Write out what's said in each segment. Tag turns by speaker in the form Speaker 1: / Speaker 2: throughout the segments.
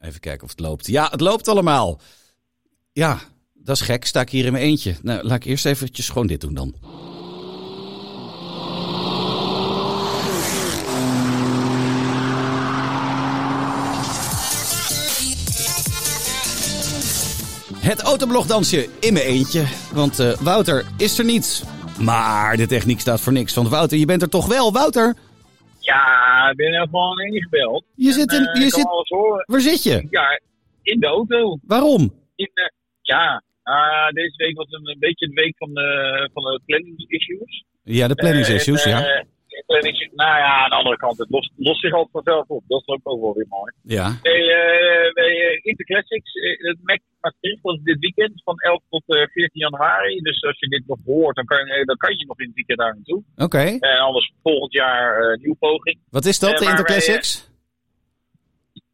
Speaker 1: Even kijken of het loopt. Ja, het loopt allemaal. Ja, dat is gek. Sta ik hier in mijn eentje. Nou, laat ik eerst eventjes gewoon dit doen dan. Het autoblogdansje in mijn eentje. Want eh, Wouter is er niet. Maar de techniek staat voor niks. Want Wouter, je bent er toch wel, Wouter?
Speaker 2: Ja, ik ben er gewoon ingebeld.
Speaker 1: Je zit in.
Speaker 2: Eh,
Speaker 1: Je
Speaker 2: ik kan
Speaker 1: zit,
Speaker 2: alles horen.
Speaker 1: waar zit je?
Speaker 2: Ja, in de auto.
Speaker 1: Waarom?
Speaker 2: In, eh, ja, Ah, deze week was een, een beetje de week van de, van de planning issues.
Speaker 1: Ja, de planning issues,
Speaker 2: Eh, en,
Speaker 1: ja.
Speaker 2: eh, planning- nou ja, aan de andere kant, het lost, lost zich altijd vanzelf op. Dat is ook, ook wel weer mooi.
Speaker 1: Ja.
Speaker 2: Bij, eh bij eh, Interclassics, eh, het Mac Maastricht was dit weekend van 11 tot eh, 14 januari. Dus als je dit nog hoort, dan kan, je- eh, dan kan je nog in het weekend daar naartoe.
Speaker 1: Oké.
Speaker 2: En anders volgend jaar eh, een nieuwe poging.
Speaker 1: Wat is dat,
Speaker 2: Eh,
Speaker 1: de
Speaker 2: maar wij,
Speaker 1: Interclassics?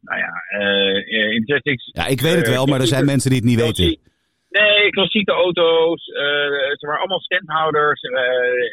Speaker 2: Nou ja, eh Interclassics
Speaker 1: Ja, ik weet het
Speaker 2: eh,
Speaker 1: wel, maar er zijn mensen die het niet weten.
Speaker 2: Klassiek- Nee, klassieke auto's. eh ze waren allemaal standhouders eh,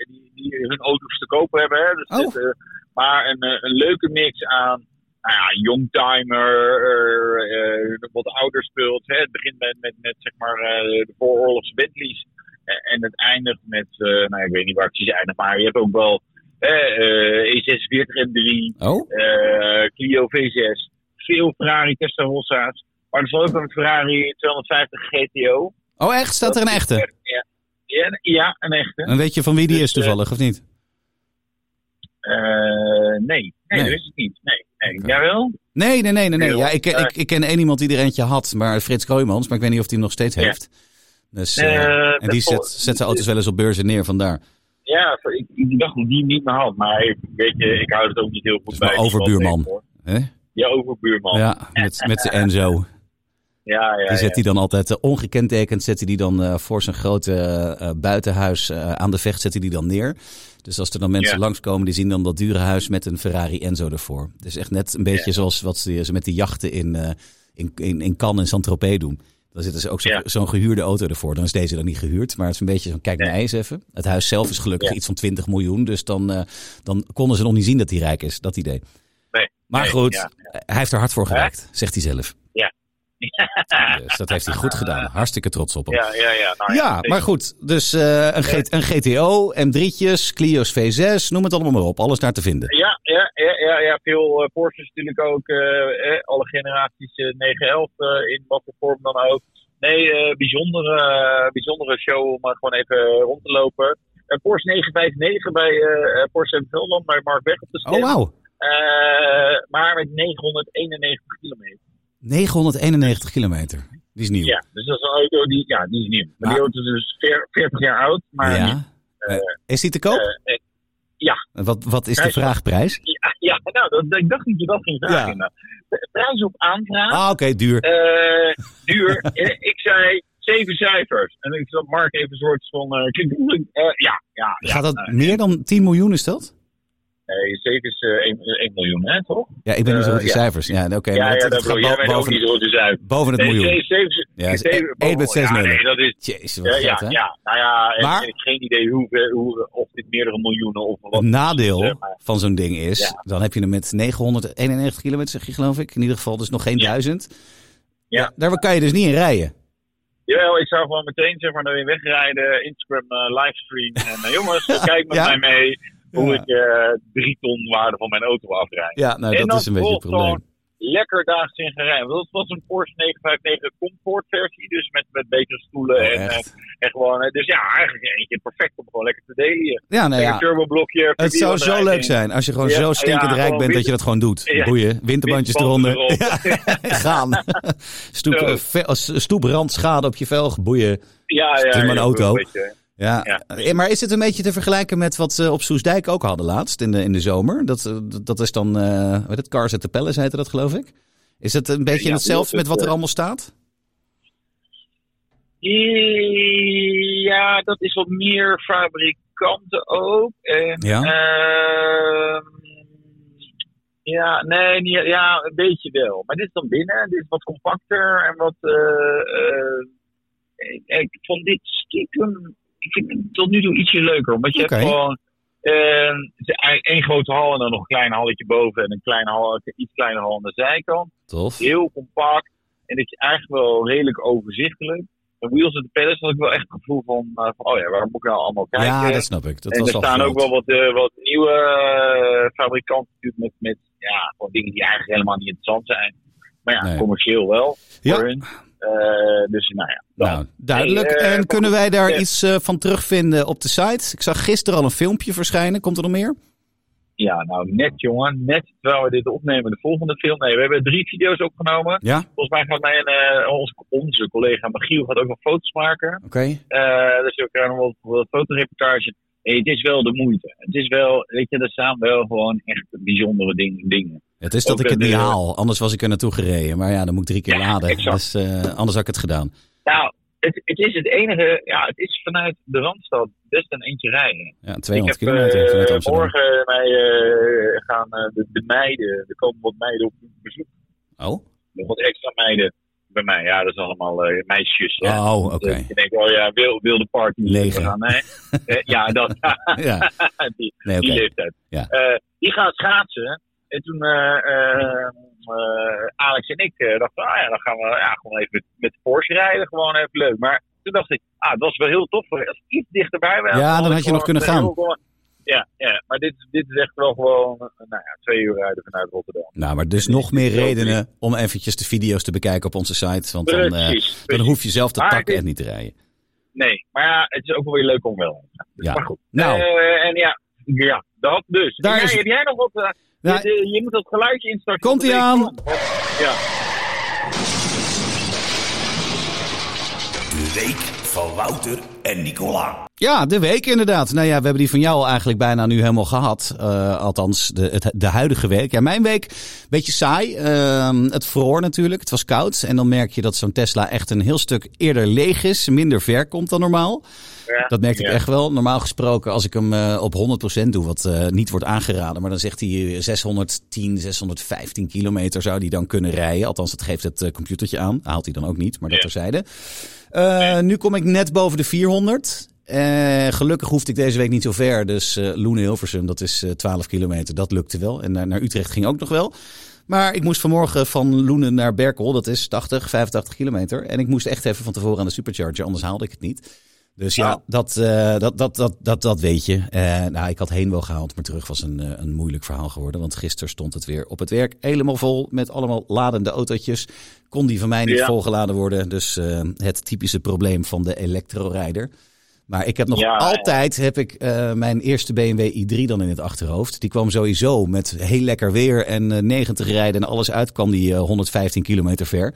Speaker 2: die, die hun auto's te koop hebben. Hè. Dus
Speaker 1: Oh.
Speaker 2: dit, eh, maar een, eh, een leuke mix aan nou ja, youngtimer, eh, eh, wat ouder speelt. Hè. Het begint met, met, met zeg maar, eh, de vooroorlogs Bentleys. Eh, en het eindigt met, eh, nou ik weet niet waar het precies eindigt, maar je hebt ook wel eh, eh, E46 M3,
Speaker 1: Oh?
Speaker 2: eh, Clio V6, veel Ferrari Testarossas. Maar er zat ook een Ferrari 250 GTO.
Speaker 1: Oh, echt? Staat er een echte?
Speaker 2: Ja, ja, ja, een echte.
Speaker 1: En weet je van wie
Speaker 2: Dus,
Speaker 1: die is toevallig, of niet?
Speaker 2: Eh, nee, nee,
Speaker 1: Nee.
Speaker 2: dat is het niet. Nee, nee.
Speaker 1: Oké.
Speaker 2: Jawel?
Speaker 1: Nee, nee, nee, nee. nee.
Speaker 2: Nee,
Speaker 1: Ja, ik,
Speaker 2: hoor.
Speaker 1: ik, ik ken één iemand die er eentje had, maar Frits Kooijmans, maar ik weet niet of die hem nog steeds
Speaker 2: Ja.
Speaker 1: heeft. Dus, eh,
Speaker 2: Eh,
Speaker 1: en die
Speaker 2: dat-
Speaker 1: zet, zet zijn auto's wel eens op beurzen neer vandaar.
Speaker 2: Ja, ik, ik dacht dat die hem niet meer had. Maar ik, weet je, ik hou het ook niet heel goed
Speaker 1: is
Speaker 2: bij.
Speaker 1: mijn overbuurman. Hè?
Speaker 2: Ja, overbuurman. Ja,
Speaker 1: Ja, met, met zijn Enzo.
Speaker 2: ja, ja.
Speaker 1: Die zet hij dan altijd, eh, ongekentekend zet hij die dan eh, voor zijn grote eh, eh, buitenhuis eh, aan de vecht zet hij die dan neer. Dus als er dan mensen
Speaker 2: Ja.
Speaker 1: langskomen, die zien dan dat dure huis met een Ferrari Enzo ervoor. Dus echt net een beetje zoals wat ze ze met die jachten in, eh, in, in, in Cannes en Saint-Tropez doen. Dan zitten ze ook zo-
Speaker 2: Ja.
Speaker 1: zo'n gehuurde auto ervoor. Dan is deze dan niet gehuurd, maar het is een beetje zo'n kijk naar ijs even. Het huis zelf is gelukkig
Speaker 2: Ja.
Speaker 1: iets van 20 miljoen, dus dan, eh, dan konden ze nog niet zien dat hij rijk is. Dat idee.
Speaker 2: Nee,
Speaker 1: maar
Speaker 2: nee,
Speaker 1: goed,
Speaker 2: ja.
Speaker 1: hij heeft er hard voor gewerkt, zegt hij zelf.
Speaker 2: ja.
Speaker 1: Dus dat heeft hij goed gedaan. Hartstikke trots op hem.
Speaker 2: Ja, ja, ja. Nou,
Speaker 1: Ja, maar goed. Dus eh, een, G- een GTO, M3'tjes, Clio's V6, noem het allemaal maar op. Alles daar te vinden.
Speaker 2: Ja, ja, ja, ja, ja. veel eh Porsches natuurlijk ook. eh, eh, alle generaties eh, 911 eh, in wat voor vorm dan ook. Nee, eh, bijzondere, eh, bijzondere show om maar gewoon even eh, rond te lopen. Eh, Porsche 959 bij eh, eh, Porsche in Vulland, bij Mark Weg op de stand.
Speaker 1: Oh, wauw.
Speaker 2: Eh, maar met 991 kilometer.
Speaker 1: 991 kilometer. Die is nieuw.
Speaker 2: Ja, dus dat is een auto die, ja, die is nieuw. Maar die
Speaker 1: Maar-
Speaker 2: auto is dus veer- 40 jaar oud. Maar
Speaker 1: Ja.
Speaker 2: niet,
Speaker 1: Eh, is die te koop?
Speaker 2: eh, eh,
Speaker 1: wat, wat is de
Speaker 2: prijs-
Speaker 1: vraagprijs?
Speaker 2: ja, ja, nou, dat, ik dacht dat je dat ging vragen.
Speaker 1: Ja.
Speaker 2: inderdaad. De Prijs op aanvraag.
Speaker 1: Ah, oké, duur.
Speaker 2: eh duur. Eh, ik zei zeven cijfers. En ik zat Mark even een soort van. eh, klik, klik, eh, ja, ja, ja. nou,
Speaker 1: Gaat dat meer dan 10 miljoen, is dat?
Speaker 2: Nee, zeven is eh, 1, miljoen, hè, toch?
Speaker 1: Ja, ik ben niet zo goed in
Speaker 2: Eh, ja.
Speaker 1: cijfers. Ja, oké.
Speaker 2: ja,
Speaker 1: maar het-
Speaker 2: ja,
Speaker 1: het
Speaker 2: dat
Speaker 1: gaat
Speaker 2: bedoel jij
Speaker 1: bo-
Speaker 2: bent ook
Speaker 1: boven,
Speaker 2: niet zo te zijn.
Speaker 1: boven het
Speaker 2: Nee,
Speaker 1: miljoen.
Speaker 2: zeven- zeven-
Speaker 1: Ja, is e-
Speaker 2: zeven-
Speaker 1: één met zes
Speaker 2: ja, nee,
Speaker 1: miljoen.
Speaker 2: dat is.
Speaker 1: Jezus, wat
Speaker 2: Ja, ja,
Speaker 1: geld, hè?
Speaker 2: ja, nou ja, en,
Speaker 1: Maar-
Speaker 2: en ik heb geen idee hoe, hoe, of dit meerdere miljoenen of wat.
Speaker 1: Het nadeel
Speaker 2: eh, maar-
Speaker 1: van zo'n ding is,
Speaker 2: Ja.
Speaker 1: dan heb je hem met 991 kilometer, zeg je geloof ik. In ieder geval dus nog geen
Speaker 2: Ja.
Speaker 1: 1000.
Speaker 2: Ja.
Speaker 1: Daar kan je dus niet in rijden.
Speaker 2: Jawel, ik zou gewoon meteen zeg maar naar weer wegrijden, Instagram eh, livestream. En eh, jongens, kijk met
Speaker 1: Ja.
Speaker 2: mij mee hoe
Speaker 1: Ja.
Speaker 2: ik eh, drie ton waarde van mijn auto afrijd.
Speaker 1: Ja, nou
Speaker 2: en
Speaker 1: dat
Speaker 2: dan
Speaker 1: is een beetje het
Speaker 2: vervolgens
Speaker 1: probleem.
Speaker 2: gewoon lekker daags in gaan rijden. Want dat was een Porsche 959 Comfort versie. Dus met, met betere stoelen
Speaker 1: Oh,
Speaker 2: en, eh,
Speaker 1: echt.
Speaker 2: en gewoon... eh, Dus ja, eigenlijk eentje perfect om gewoon lekker te delen.
Speaker 1: Ja, nou
Speaker 2: Lekker
Speaker 1: ja.
Speaker 2: turboblokje.
Speaker 1: Het zou zo
Speaker 2: vierwielaandrijving.
Speaker 1: leuk zijn als je gewoon
Speaker 2: Ja,
Speaker 1: zo stinkend
Speaker 2: ja,
Speaker 1: rijk
Speaker 2: gewoon
Speaker 1: bent dat
Speaker 2: wind-
Speaker 1: je dat gewoon doet.
Speaker 2: Ja.
Speaker 1: Boeien, winterbandjes
Speaker 2: Windbanden
Speaker 1: eronder. Ja, gaan. Stoep,
Speaker 2: Zo.
Speaker 1: eh, ve- als stoebrandschade op je velg, boeien.
Speaker 2: Ja, ja.
Speaker 1: Het is maar een
Speaker 2: ja,
Speaker 1: auto.
Speaker 2: een beetje.
Speaker 1: Ja.
Speaker 2: Ja.
Speaker 1: Eh, Maar is het een beetje te vergelijken met wat ze op Soesdijk ook hadden laatst in de, in de zomer? Dat, eh, dat- dat is dan, eh weet het, Cars at the Palace heette dat geloof ik? Is het een beetje
Speaker 2: Ja,
Speaker 1: hetzelfde
Speaker 2: dat
Speaker 1: met
Speaker 2: is,
Speaker 1: wat er
Speaker 2: eh,
Speaker 1: allemaal staat?
Speaker 2: Ja, dat is wat meer fabrikanten ook. En
Speaker 1: Ja.
Speaker 2: Ehm, ja, nee, niet, ja, een beetje wel. Maar dit is dan binnen, dit is wat compacter en wat. eh eh, ik, ik vond dit stiekem. Ik vind het tot nu toe ietsje leuker, omdat je
Speaker 1: Oké.
Speaker 2: hebt gewoon. Eén grote hal en dan nog een klein halletje boven en een klein hal, een iets kleiner hal aan de zijkant.
Speaker 1: Tof.
Speaker 2: Heel compact en dat je eigenlijk wel redelijk overzichtelijk. En Wheels at the Palace had ik wel echt het gevoel van, eh, van, oh ja, waarom moet ik nou allemaal kijken?
Speaker 1: Ja, dat snap ik. Dat
Speaker 2: en
Speaker 1: was
Speaker 2: er
Speaker 1: al
Speaker 2: staan
Speaker 1: groot.
Speaker 2: ook wel wat, eh, wat nieuwe eh, fabrikanten natuurlijk met, met ja, gewoon dingen die eigenlijk helemaal niet interessant zijn. Maar ja,
Speaker 1: Nee.
Speaker 2: commercieel wel
Speaker 1: Ja.
Speaker 2: voor hun. Eh, dus nou ja. dat.
Speaker 1: Nou, duidelijk.
Speaker 2: Hey, eh,
Speaker 1: en
Speaker 2: maar
Speaker 1: kunnen
Speaker 2: goed,
Speaker 1: wij daar
Speaker 2: eh,
Speaker 1: iets eh, van terugvinden op de site? Ik zag gisteren al een filmpje verschijnen. Komt er nog meer?
Speaker 2: Ja, nou net jongen, net terwijl we dit opnemen, de volgende film. Nee, we hebben drie video's opgenomen.
Speaker 1: Ja, oké.
Speaker 2: Volgens mij gaat mijn, eh, onze, onze collega Magiel gaat ook nog foto's maken. Eh, dus we krijgen nog wat, wat fotoreportage. Nee, het is wel de moeite. Het is wel, weet je, er staan wel gewoon echt bijzondere ding- dingen.
Speaker 1: Het is dat
Speaker 2: Ook
Speaker 1: ik het
Speaker 2: een,
Speaker 1: niet
Speaker 2: eh,
Speaker 1: haal. Anders was ik er naartoe gereden. Maar ja, dan moet ik drie keer
Speaker 2: Ja,
Speaker 1: laden.
Speaker 2: exact.
Speaker 1: Dus eh, anders had ik het gedaan.
Speaker 2: Nou, het, het is het enige. Ja, het is vanuit de Randstad best een eentje rijden.
Speaker 1: Ja,
Speaker 2: Ik
Speaker 1: 200
Speaker 2: heb
Speaker 1: kilometer
Speaker 2: eh,
Speaker 1: vanuit Amsterdam.
Speaker 2: morgen mij eh, gaan eh, de, de meiden. Er komen wat meiden op bezoek.
Speaker 1: Oh,
Speaker 2: Nog wat extra meiden bij mij. Ja, dat is allemaal eh, meisjes. hè.
Speaker 1: oh oké.
Speaker 2: Dus ik denk, oh ja, wil, wil de party
Speaker 1: Leger.
Speaker 2: gaan. Nee. Eh, ja, dat,
Speaker 1: Ja,
Speaker 2: die,
Speaker 1: nee, oké.
Speaker 2: die leeftijd.
Speaker 1: Ja.
Speaker 2: Eh, die gaan schaatsen. En toen eh, eh, eh, Alex en ik eh, dachten, ah ja, dan gaan we ja, gewoon even met, met de Porsche rijden. Gewoon even leuk. Maar toen dacht ik, ah, dat was wel heel tof. Als ik iets dichterbij was.
Speaker 1: Ja, dan had je nog kunnen gaan.
Speaker 2: ja, ja, maar dit, dit is echt wel gewoon, eh, nou ja, twee uur rijden vanuit Rotterdam.
Speaker 1: Nou, maar dus nog meer
Speaker 2: Heel
Speaker 1: redenen om eventjes de video's te bekijken op onze site. Want dan, eh,
Speaker 2: Precies.
Speaker 1: dan hoef je zelf te
Speaker 2: Maar
Speaker 1: pakken
Speaker 2: dit-
Speaker 1: en niet te rijden.
Speaker 2: Nee, maar ja, het is ook wel weer leuk om wel. Maar
Speaker 1: Ja.
Speaker 2: goed.
Speaker 1: Nou,
Speaker 2: Eh, en ja, ja, dat dus.
Speaker 1: Daar
Speaker 2: En jij-
Speaker 1: is het.
Speaker 2: Heb jij nog wat? eh,
Speaker 1: Ja.
Speaker 2: je, je moet dat geluidje instarten.
Speaker 1: Komt-ie
Speaker 2: Dat
Speaker 1: aan.
Speaker 2: weet ik wel. Ja.
Speaker 3: De week van Wouter en Nicola.
Speaker 1: ja, de week inderdaad. Nou ja, we hebben die van jou eigenlijk bijna nu helemaal gehad. Eh, althans, de, het, de huidige week. Ja, mijn week, beetje saai. Ehm, het vroor natuurlijk. Het was koud. En dan merk je dat zo'n Tesla echt een heel stuk eerder leeg is. Minder ver komt dan normaal.
Speaker 2: Ja.
Speaker 1: Dat merkte ik
Speaker 2: Ja.
Speaker 1: echt wel. Normaal gesproken, als ik hem eh, op 100% doe, wat eh, niet wordt aangeraden, maar dan zegt hij eh, 610, 615 kilometer zou die dan kunnen rijden. Althans, dat geeft het eh, computertje aan. Haalt hij dan ook niet, maar dat
Speaker 2: Ja.
Speaker 1: terzijde. Eh, Nu kom ik net boven de 400. Eh, gelukkig hoefde ik deze week niet zo ver. Dus eh Loenen-Hilversum, dat is eh, 12 kilometer. Dat lukte wel. En naar, naar Utrecht ging ook nog wel. Maar ik moest vanmorgen van Loenen naar Berkel. Dat is 80, 85 kilometer. En ik moest echt even van tevoren aan de supercharger. Anders haalde ik het niet. Dus ja,
Speaker 2: Ja.
Speaker 1: Dat, eh, dat, dat, dat, dat, dat weet je. Eh, nou, ik had heen wel gehaald, maar terug was een, eh, een moeilijk verhaal geworden. Want gisteren stond het weer op het werk helemaal vol met allemaal ladende autootjes. Kon die van mij niet
Speaker 2: Ja.
Speaker 1: volgeladen worden. Dus eh, het typische probleem van de elektrorijder. Maar ik heb nog
Speaker 2: Ja, ja.
Speaker 1: altijd heb ik, eh, mijn eerste BMW i3 dan in het achterhoofd. Die kwam sowieso met heel lekker weer en eh, 90 rijden en alles uit kwam die eh, 115 kilometer ver.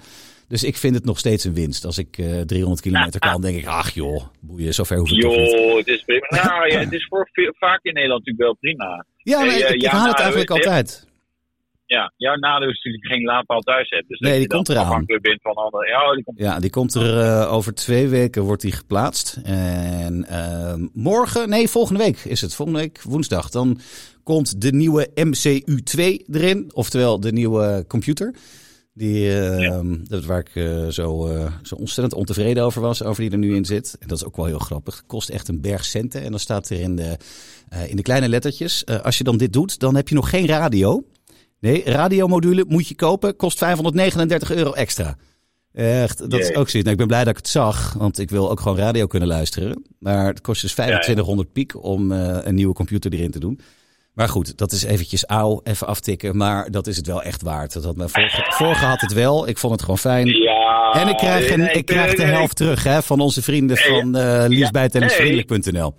Speaker 1: Dus ik vind het nog steeds een winst. Als ik eh, 300 kilometer kan, denk ik, ach joh, boeien, zover hoef ik toch niet.
Speaker 2: Joh, het is prima. Nou ja, het is voor veel- vaak in Nederland natuurlijk wel prima.
Speaker 1: Ja, maar
Speaker 2: Eh,
Speaker 1: ik,
Speaker 2: ja,
Speaker 1: ik
Speaker 2: ja,
Speaker 1: haal het
Speaker 2: nou,
Speaker 1: eigenlijk
Speaker 2: weet je-
Speaker 1: altijd.
Speaker 2: Ja, jouw nadeel is natuurlijk dat je geen laadpaal thuis hebt. Dus
Speaker 1: Nee,
Speaker 2: dat
Speaker 1: die
Speaker 2: je dan
Speaker 1: komt eraan.
Speaker 2: afhankelijk bent van anderen. Ja, oh, die komt
Speaker 1: Ja, die komt er eh, over twee weken wordt die geplaatst. En eh, morgen, nee, volgende week is het. Volgende week woensdag. Dan komt de nieuwe MCU2 erin. Oftewel de nieuwe computer. Die, eh, dat Waar ik eh, zo, eh, zo ontzettend ontevreden over was, over die er nu in zit. En dat is ook wel heel grappig. Het kost echt een berg centen. En dan staat er in de, eh, in de kleine lettertjes. eh, als je dan dit doet, dan heb je nog geen radio. Nee, radiomodule moet je kopen. Kost 539 euro extra. Echt, dat is
Speaker 2: Jee.
Speaker 1: ook zoiets. Nou, ik ben blij dat ik het zag, want ik wil ook gewoon radio kunnen luisteren. Maar het kost dus 2500 piek om eh, een nieuwe computer erin te doen. Maar goed, dat is eventjes auw, even aftikken. Maar dat is het wel echt waard. Dat had mijn vorige, vorige had het wel. Ik vond het gewoon fijn.
Speaker 2: Ja.
Speaker 1: En ik krijg,
Speaker 2: Ah, Nee,
Speaker 1: een, ik krijg de
Speaker 2: nee, nee.
Speaker 1: helft terug hè, van onze vrienden van eh liefbijtennisvriendelijk.nl.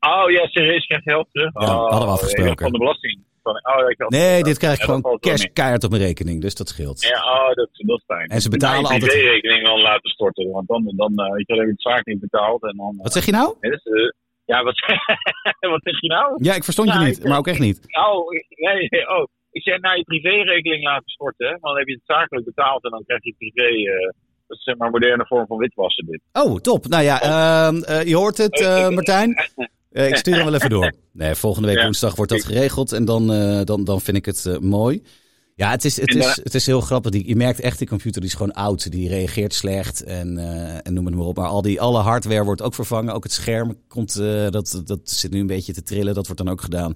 Speaker 2: Oh ja, serieus, krijg je helft terug?
Speaker 1: Ja, hadden we
Speaker 2: Oh,
Speaker 1: afgesproken.
Speaker 2: ja, Van de belasting. Van, oh, ja, ik had-
Speaker 1: Nee, dit krijg ik
Speaker 2: Ja, dat
Speaker 1: gewoon
Speaker 2: valt wel
Speaker 1: cash
Speaker 2: mee.
Speaker 1: keihard op mijn rekening. Dus dat scheelt.
Speaker 2: Ja, oh, dat, dat is fijn.
Speaker 1: En ze betalen
Speaker 2: Mijn
Speaker 1: altijd-
Speaker 2: privérekening dan laten storten. Want dan, dan eh, weet je, dan heb ik het vaak niet betaald. En dan, eh,
Speaker 1: Wat zeg je nou?
Speaker 2: nee, dat is, eh, ja, wat, wat zeg je nou?
Speaker 1: Ja, ik verstond je
Speaker 2: Nou,
Speaker 1: niet,
Speaker 2: ik-
Speaker 1: maar ook echt niet.
Speaker 2: Oh, ik- nee, nee, oh. Ik zei, nou, je privérekeling laten storten, hè? Want dan heb je het zakelijk betaald en dan krijg je privé... eh, dat is zeg maar een moderne vorm van witwassen, dit.
Speaker 1: Oh, top. Nou ja, ehm, eh, je hoort het, eh, Martijn. Eh, ik stuur hem wel even door. Nee, volgende week
Speaker 2: Ja.
Speaker 1: woensdag wordt dat geregeld en dan, eh, dan, dan vind ik het eh, mooi. Ja, het is, het,
Speaker 2: En
Speaker 1: is,
Speaker 2: daarna-
Speaker 1: het is heel grappig. Die, je merkt echt, die computer die is gewoon oud. Die reageert slecht en, eh, en noem het maar op. Maar al die, alle hardware wordt ook vervangen. Ook het scherm komt, eh, dat, dat zit nu een beetje te trillen. Dat wordt dan ook gedaan.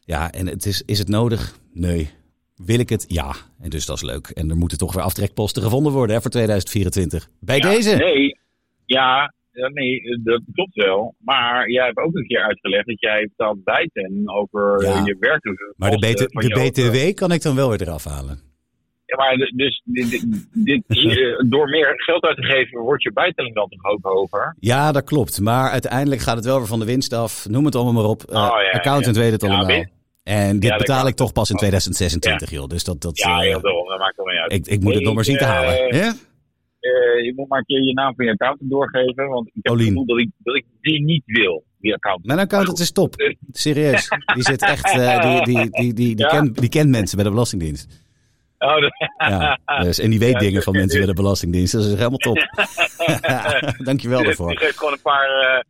Speaker 1: Ja, en het is, is het nodig? Nee. Wil ik het? Ja. En dus dat is leuk. En er moeten toch weer aftrekposten gevonden worden hè, voor 2024. Bij deze.
Speaker 2: Nee, ja, ja, nee, dat klopt wel. Maar jij hebt ook een keer uitgelegd dat jij betaalt bijten over
Speaker 1: Ja.
Speaker 2: eh, je werk.
Speaker 1: Maar de, BT
Speaker 2: eh, van
Speaker 1: de
Speaker 2: je auto.
Speaker 1: BTW kan ik dan wel weer eraf halen.
Speaker 2: Ja, maar d- dus dit, dit- dit, hier, eh, door meer geld uit te geven, wordt je bijtelling dan toch ook hoger?
Speaker 1: Ja, dat klopt. Maar uiteindelijk gaat het wel weer van de winst af. Noem het allemaal maar op. Eh,
Speaker 2: Oh, ja, ja.
Speaker 1: accountant weet het
Speaker 2: Ja,
Speaker 1: allemaal.
Speaker 2: winst.
Speaker 1: en dit
Speaker 2: Ja, dat
Speaker 1: betaal
Speaker 2: kan.
Speaker 1: ik toch pas in 2026, joh. Dus dat, dat,
Speaker 2: Ja,
Speaker 1: eh,
Speaker 2: heel veel, dat maakt wel niet uit.
Speaker 1: ik, ik moet het
Speaker 2: Ik,
Speaker 1: nog maar zien te
Speaker 2: eh,
Speaker 1: halen. Hè?
Speaker 2: Eh, je moet maar een keer je naam van je accountant doorgeven, want ik heb
Speaker 1: Paulien.
Speaker 2: het gevoel dat ik, dat ik die niet wil, die accountant.
Speaker 1: Mijn accountant is top. Serieus. Die zit echt. eh, die, die, die, die, die,
Speaker 2: Ja?
Speaker 1: kent, die kent mensen bij de Belastingdienst.
Speaker 2: Oh, dat-
Speaker 1: Ja, dus, en die weet
Speaker 2: Ja,
Speaker 1: dingen van
Speaker 2: oké,
Speaker 1: mensen bij
Speaker 2: dus-
Speaker 1: de Belastingdienst. Dus Dat is helemaal top. Dankjewel
Speaker 2: Die-
Speaker 1: daarvoor.
Speaker 2: Die geeft Dus gewoon een paar eh,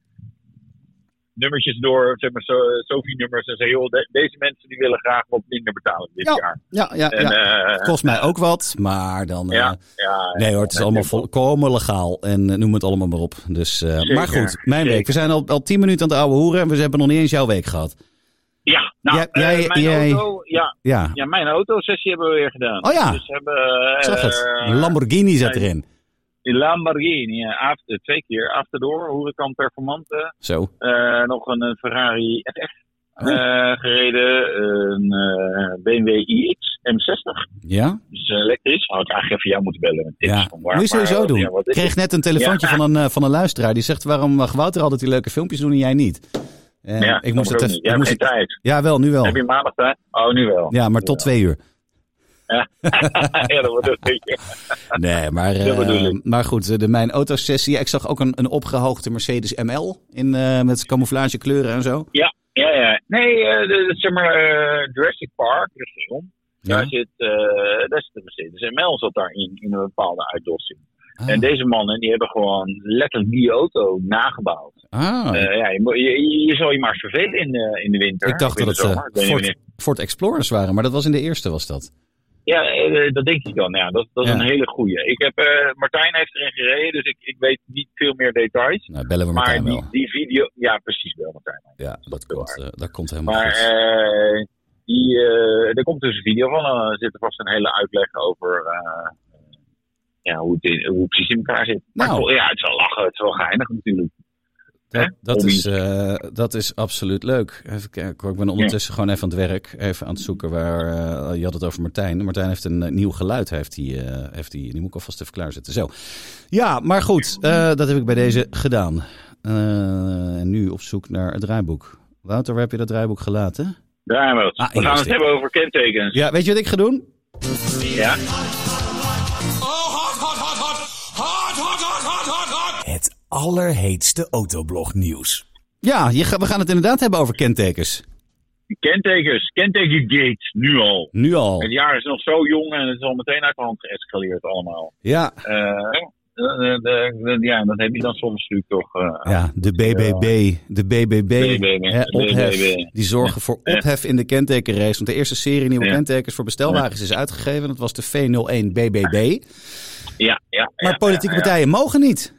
Speaker 2: nummertjes door, zeg maar so- Sophie-nummers. En zei, joh, de- deze mensen die willen graag wat minder betalen dit jaar.
Speaker 1: Ja, ja,
Speaker 2: En,
Speaker 1: ja.
Speaker 2: eh,
Speaker 1: Kost mij ook wat, maar dan. eh,
Speaker 2: ja, ja,
Speaker 1: Nee hoor, het is
Speaker 2: Ja,
Speaker 1: allemaal
Speaker 2: ik denk
Speaker 1: volkomen legaal en eh, noem het allemaal maar op. Dus, eh,
Speaker 2: Zeker,
Speaker 1: maar goed, mijn
Speaker 2: zeker.
Speaker 1: week. We zijn al, al tien minuten aan het oude hoeren en we hebben nog niet eens jouw week gehad.
Speaker 2: ja, nou,
Speaker 1: Jij-
Speaker 2: eh,
Speaker 1: jij-
Speaker 2: mijn
Speaker 1: jij-
Speaker 2: auto, ja,
Speaker 1: Ja,
Speaker 2: ja, mijn auto-sessie hebben we weer gedaan.
Speaker 1: Oh ja.
Speaker 2: Dus we hebben, eh,
Speaker 1: ik zag het. Een Lamborghini zit erin.
Speaker 2: een Lamborghini, ja, af- eh, twee keer Afterdoor, Huracan Performante.
Speaker 1: Zo.
Speaker 2: eh, nog een eh, Ferrari FF
Speaker 1: Ah,
Speaker 2: eh, gereden, een eh, BMW iX M60.
Speaker 1: Ja?
Speaker 2: Dus eh, elektrisch. Had ik eigenlijk even jou moeten bellen met tips.
Speaker 1: Ja.
Speaker 2: van waar-
Speaker 1: Moet je sowieso
Speaker 2: waar-
Speaker 1: doen.
Speaker 2: ja, wat
Speaker 1: Ik
Speaker 2: is
Speaker 1: kreeg net een telefoontje
Speaker 2: Ja.
Speaker 1: van, een, eh, van een luisteraar die zegt waarom mag Wouter altijd die leuke filmpjes doen en jij niet? En
Speaker 2: het? Ja,
Speaker 1: ik moest
Speaker 2: dat
Speaker 1: het
Speaker 2: ook
Speaker 1: even...
Speaker 2: niet. Jij
Speaker 1: ik moest
Speaker 2: hebt geen
Speaker 1: het-
Speaker 2: tijd.
Speaker 1: ja, wel, nu wel.
Speaker 2: Heb je maandag tijd? Oh, nu wel.
Speaker 1: Ja, maar tot twee uur.
Speaker 2: ja dat wordt een beetje.
Speaker 1: Nee, maar, eh,
Speaker 2: Dat bedoel ik.
Speaker 1: maar goed, eh, de mijn autosessie. Ja, ik zag ook een, een opgehoogde Mercedes ML in, eh, met camouflage kleuren en zo.
Speaker 2: Ja, ja, ja. Nee, eh, de- de- zeg maar eh, Jurassic Park, de film. Daar zit, eh daar zit de Mercedes ML zat daarin, in een bepaalde uitdossing.
Speaker 1: Ah.
Speaker 2: En deze mannen, die hebben gewoon letterlijk die auto nagebouwd.
Speaker 1: Ah,
Speaker 2: Eh, ja, je, moet- je, je zal je maar eens vervelen in, eh, in de winter.
Speaker 1: ik dacht
Speaker 2: Of in
Speaker 1: dat
Speaker 2: de
Speaker 1: het
Speaker 2: zomer. Ik weet
Speaker 1: eh,
Speaker 2: niet
Speaker 1: Ford,
Speaker 2: wanneer-
Speaker 1: Ford Explorers waren, maar dat was in de eerste, was dat?
Speaker 2: Ja, eh, dat denk ik dan. Ja, dat, dat is
Speaker 1: Ja.
Speaker 2: een hele goeie. Ik heb, eh, Martijn heeft erin gereden, dus ik, ik weet niet veel meer details.
Speaker 1: Nou, bellen we
Speaker 2: Maar
Speaker 1: Martijn
Speaker 2: die,
Speaker 1: wel.
Speaker 2: die video... Ja, precies wel, Martijn.
Speaker 1: Ja, dat komt, eh, dat komt helemaal
Speaker 2: Maar
Speaker 1: goed.
Speaker 2: eh, die, eh, er komt dus een video van. eh, Er zit er vast een hele uitleg over eh, ja, hoe, het in, hoe het precies in elkaar zit. Maar
Speaker 1: Nou.
Speaker 2: het zal- ja, het zal lachen. Het is wel geinig natuurlijk.
Speaker 1: Dat, dat,
Speaker 2: Hobby.
Speaker 1: is, eh, dat is absoluut leuk. Even kijken, hoor. ik ben ondertussen gewoon even aan het werk. Even aan het zoeken waar... eh, je had het over Martijn. Martijn heeft een eh, nieuw geluid. Heeft die, eh, heeft die, die moet ik alvast even klaarzetten. Zo. Ja, maar goed. eh, dat heb ik bij deze gedaan. Eh, en nu op zoek naar het draaiboek. Wouter, waar heb je dat draaiboek gelaten?
Speaker 2: Daar hebben we het.
Speaker 1: Ah,
Speaker 2: we gaan het
Speaker 1: eerste.
Speaker 2: hebben over kentekens.
Speaker 1: Ja, weet je wat ik ga doen?
Speaker 2: Ja.
Speaker 3: Het allerheetste autoblognieuws.
Speaker 1: Ja, je ga- we gaan het inderdaad hebben over kentekens.
Speaker 2: Kentekens. Kentekengates. Nu al.
Speaker 1: Nu al.
Speaker 2: Het jaar is nog zo jong en het is al meteen uit de hand geëscaleerd allemaal.
Speaker 1: Ja,
Speaker 2: Eh, de- de- de- ja, dat heb je dan soms natuurlijk toch. eh,
Speaker 1: ja de BBB, de BBB,
Speaker 2: BBB,
Speaker 1: hè, ophef,
Speaker 2: BBB.
Speaker 1: die zorgen voor ophef in de kentekenrace. Want de eerste serie nieuwe
Speaker 2: Ja.
Speaker 1: kentekens voor bestelwagens is uitgegeven. Dat was de V01 BBB.
Speaker 2: ja, ja, ja,
Speaker 1: Maar politieke
Speaker 2: ja, ja.
Speaker 1: partijen mogen niet.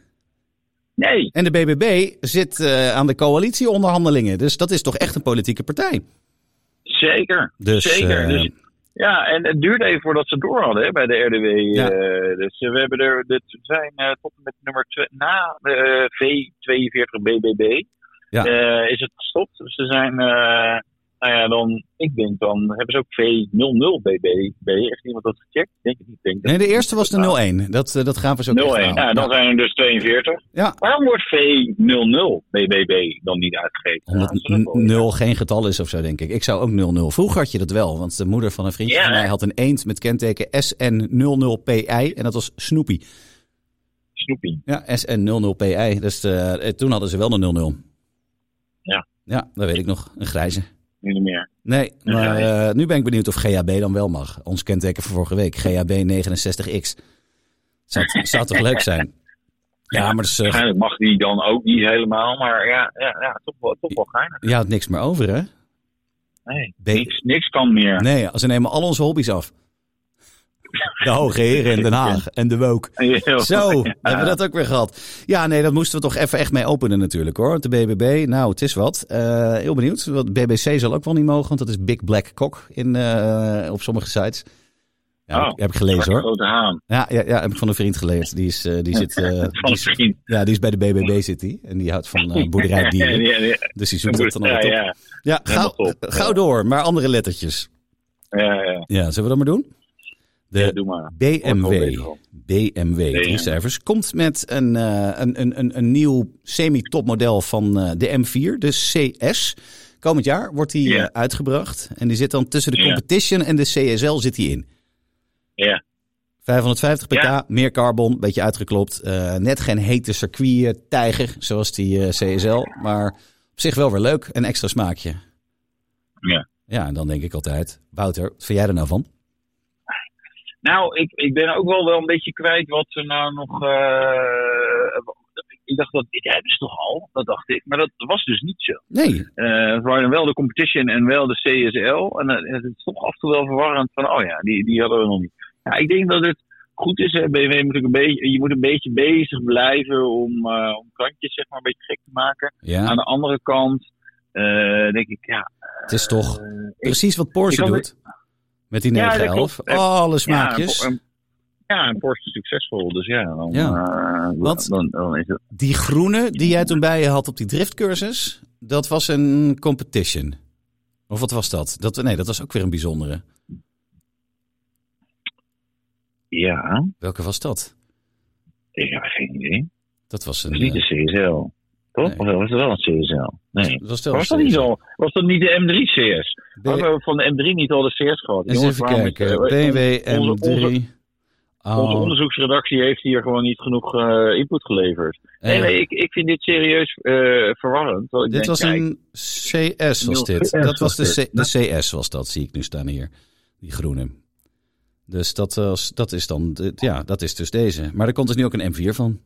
Speaker 2: Nee,
Speaker 1: En de BBB zit eh, aan de coalitieonderhandelingen. Dus dat is toch echt een politieke partij.
Speaker 2: zeker.
Speaker 1: Dus,
Speaker 2: zeker.
Speaker 1: eh,
Speaker 2: Dus, ja, en het duurde even voordat ze het door hadden hè, bij de RDW.
Speaker 1: Ja.
Speaker 2: eh, dus eh, we hebben er, dit zijn eh, tot en met nummer twe- na eh, V42 BBB
Speaker 1: Ja.
Speaker 2: eh, is het gestopt. Dus ze zijn, eh, nou ja, dan, ik denk dan, hebben ze ook V00 BBB. Heeft iemand dat gecheckt? Ik Denk het niet. Ik Denk dat-
Speaker 1: Nee, de eerste was de 01. Dat, eh, dat gaven ze ook
Speaker 2: 01.
Speaker 1: echt aan.
Speaker 2: Ja, dan zijn er dus 42.
Speaker 1: Ja.
Speaker 2: Waarom wordt V00 BBB dan niet uitgegeven?
Speaker 1: Omdat
Speaker 2: Ja, dat is ook wel-
Speaker 1: 0 geen getal is of zo, denk ik. Ik zou ook 00. Vroeger had je dat wel, want de moeder van een vriendje
Speaker 2: Ja.
Speaker 1: van mij had een eend met kenteken SN00PI en dat was Snoopy.
Speaker 2: Snoepie.
Speaker 1: Ja, SN00PI. Dus eh, eh, toen hadden ze wel een 00.
Speaker 2: Ja.
Speaker 1: Ja, dat weet ik nog. Een grijze.
Speaker 2: Nu niet meer.
Speaker 1: Nee,
Speaker 2: Een
Speaker 1: maar
Speaker 2: grijze.
Speaker 1: eh, nu ben ik benieuwd of GHB dan wel mag. Ons kenteken van vorige week, GHB 69X. Zou, zou toch leuk zijn? Ja, maar dat is, eh,
Speaker 2: Waarschijnlijk mag die dan ook niet helemaal, maar ja, ja, ja toch, wel, toch wel geinig.
Speaker 1: je houdt niks meer over, hè?
Speaker 2: Nee,
Speaker 1: B-
Speaker 2: niks, niks kan meer.
Speaker 1: Nee, ze nemen al onze hobby's af. De hoge heren in Den Haag en de woke. Zo, hebben we dat ook weer gehad. Ja, nee, dat moesten we toch even echt mee openen natuurlijk hoor. De BBB, nou, het is wat. Eh, heel benieuwd. Wat BBC zal ook wel niet mogen, want dat is Big Black Cock in, eh, op sommige sites. Ja,
Speaker 2: Oh,
Speaker 1: heb ik- heb ik gelezen hoor.
Speaker 2: Grote haan.
Speaker 1: Ja, ja, ja, heb ik van een vriend geleerd. Die is, eh, die zit, eh,
Speaker 2: Van
Speaker 1: die is-
Speaker 2: misschien.
Speaker 1: ja, die is bij de BBB zit die. En die houdt van eh boerderijdieren.
Speaker 2: Ja, ja,
Speaker 1: Dus die
Speaker 2: ja.
Speaker 1: zoekt dat dan
Speaker 2: Ja,
Speaker 1: altijd op.
Speaker 2: ja.
Speaker 1: Ja, gauw,
Speaker 2: helemaal top.
Speaker 1: gauw door, maar andere lettertjes.
Speaker 2: Ja, ja.
Speaker 1: Ja, zullen we dat maar doen? De
Speaker 2: Ja, doe maar. Wordt wel
Speaker 1: BMW.
Speaker 2: beter al.
Speaker 1: BMW, drie
Speaker 2: BMW.
Speaker 1: cijfers, komt met een, eh, een, een, een, een nieuw semi-topmodel van eh, de M4, de CS. Komend jaar wordt die
Speaker 2: Ja.
Speaker 1: eh, uitgebracht. En die zit dan tussen de
Speaker 2: Ja.
Speaker 1: Competition en de CSL zit die in.
Speaker 2: Ja.
Speaker 1: 550 pk,
Speaker 2: Ja.
Speaker 1: meer carbon, beetje uitgeklopt. Eh, net geen hete circuit tijger, zoals die eh, CSL. Maar op zich wel weer leuk, een extra smaakje.
Speaker 2: Ja.
Speaker 1: Ja, en dan denk ik altijd, Wouter, wat vind jij er nou van?
Speaker 2: Nou, ik, ik ben ook wel, wel een beetje kwijt wat ze nou nog. eh, ik dacht dat dit hebben ze toch al? Dat dacht ik. Maar dat was dus niet zo.
Speaker 1: Nee,
Speaker 2: Eh, het waren wel de competition en wel de CSL. En eh, het is toch af en toe wel verwarrend van, oh ja, die, die hadden we nog niet. Ja, ik denk dat het goed is. Hè. BMW moet ook een beetje, je moet een beetje bezig blijven om, eh, om kantjes zeg maar, een beetje gek te maken.
Speaker 1: ja,
Speaker 2: Aan de andere kant eh, denk ik, ja,
Speaker 1: het is toch...
Speaker 2: eh, ik-
Speaker 1: Precies wat Porsche
Speaker 2: ik had-
Speaker 1: doet. Met die
Speaker 2: Ja, dat
Speaker 1: 911.
Speaker 2: klopt.
Speaker 1: Alle
Speaker 2: ja,
Speaker 1: smaakjes.
Speaker 2: en- en- Ja, en Porsche is succesvol, dus ja, dan,
Speaker 1: Ja.
Speaker 2: eh,
Speaker 1: Want-
Speaker 2: dan, dan is het...
Speaker 1: Die groene die jij toen bij je had op die driftcursus. Dat was een competition. Of wat was dat? dat nee, dat was ook weer een bijzondere.
Speaker 2: Ja,
Speaker 1: Welke was dat?
Speaker 2: ik heb geen idee.
Speaker 1: Dat was
Speaker 2: Dat
Speaker 1: een...
Speaker 2: is niet de
Speaker 1: eh,
Speaker 2: CSL, toch?
Speaker 1: Nee.
Speaker 2: Of was het wel een CSL? Nee.
Speaker 1: eh, dat was, wel
Speaker 2: Was dat niet zo? Was dat niet de M3-CS?
Speaker 1: B-
Speaker 2: Hadden we van de M3 niet al de CS gehad?
Speaker 1: Eens
Speaker 2: Jongens,
Speaker 1: even
Speaker 2: waarom is-
Speaker 1: kijken.
Speaker 2: eh,
Speaker 1: BMW
Speaker 2: onze-
Speaker 1: M3.
Speaker 2: Onze
Speaker 1: Oh,
Speaker 2: onderzoeksredactie heeft hier gewoon niet genoeg eh, input geleverd. Nee,
Speaker 1: eh,
Speaker 2: nee, ik, ik vind dit serieus eh, verwarrend. want
Speaker 1: dit
Speaker 2: ik denk,
Speaker 1: was
Speaker 2: kijk,
Speaker 1: een CS was
Speaker 2: Nul
Speaker 1: dit.
Speaker 2: CS
Speaker 1: Dat was
Speaker 2: was
Speaker 1: de,
Speaker 2: dit.
Speaker 1: C- de CS was dat, zie ik nu staan hier. Die groene. Dus dat, was, dat is dan, dit- ja, dat is dus deze. Maar er komt dus nu ook een M4 van.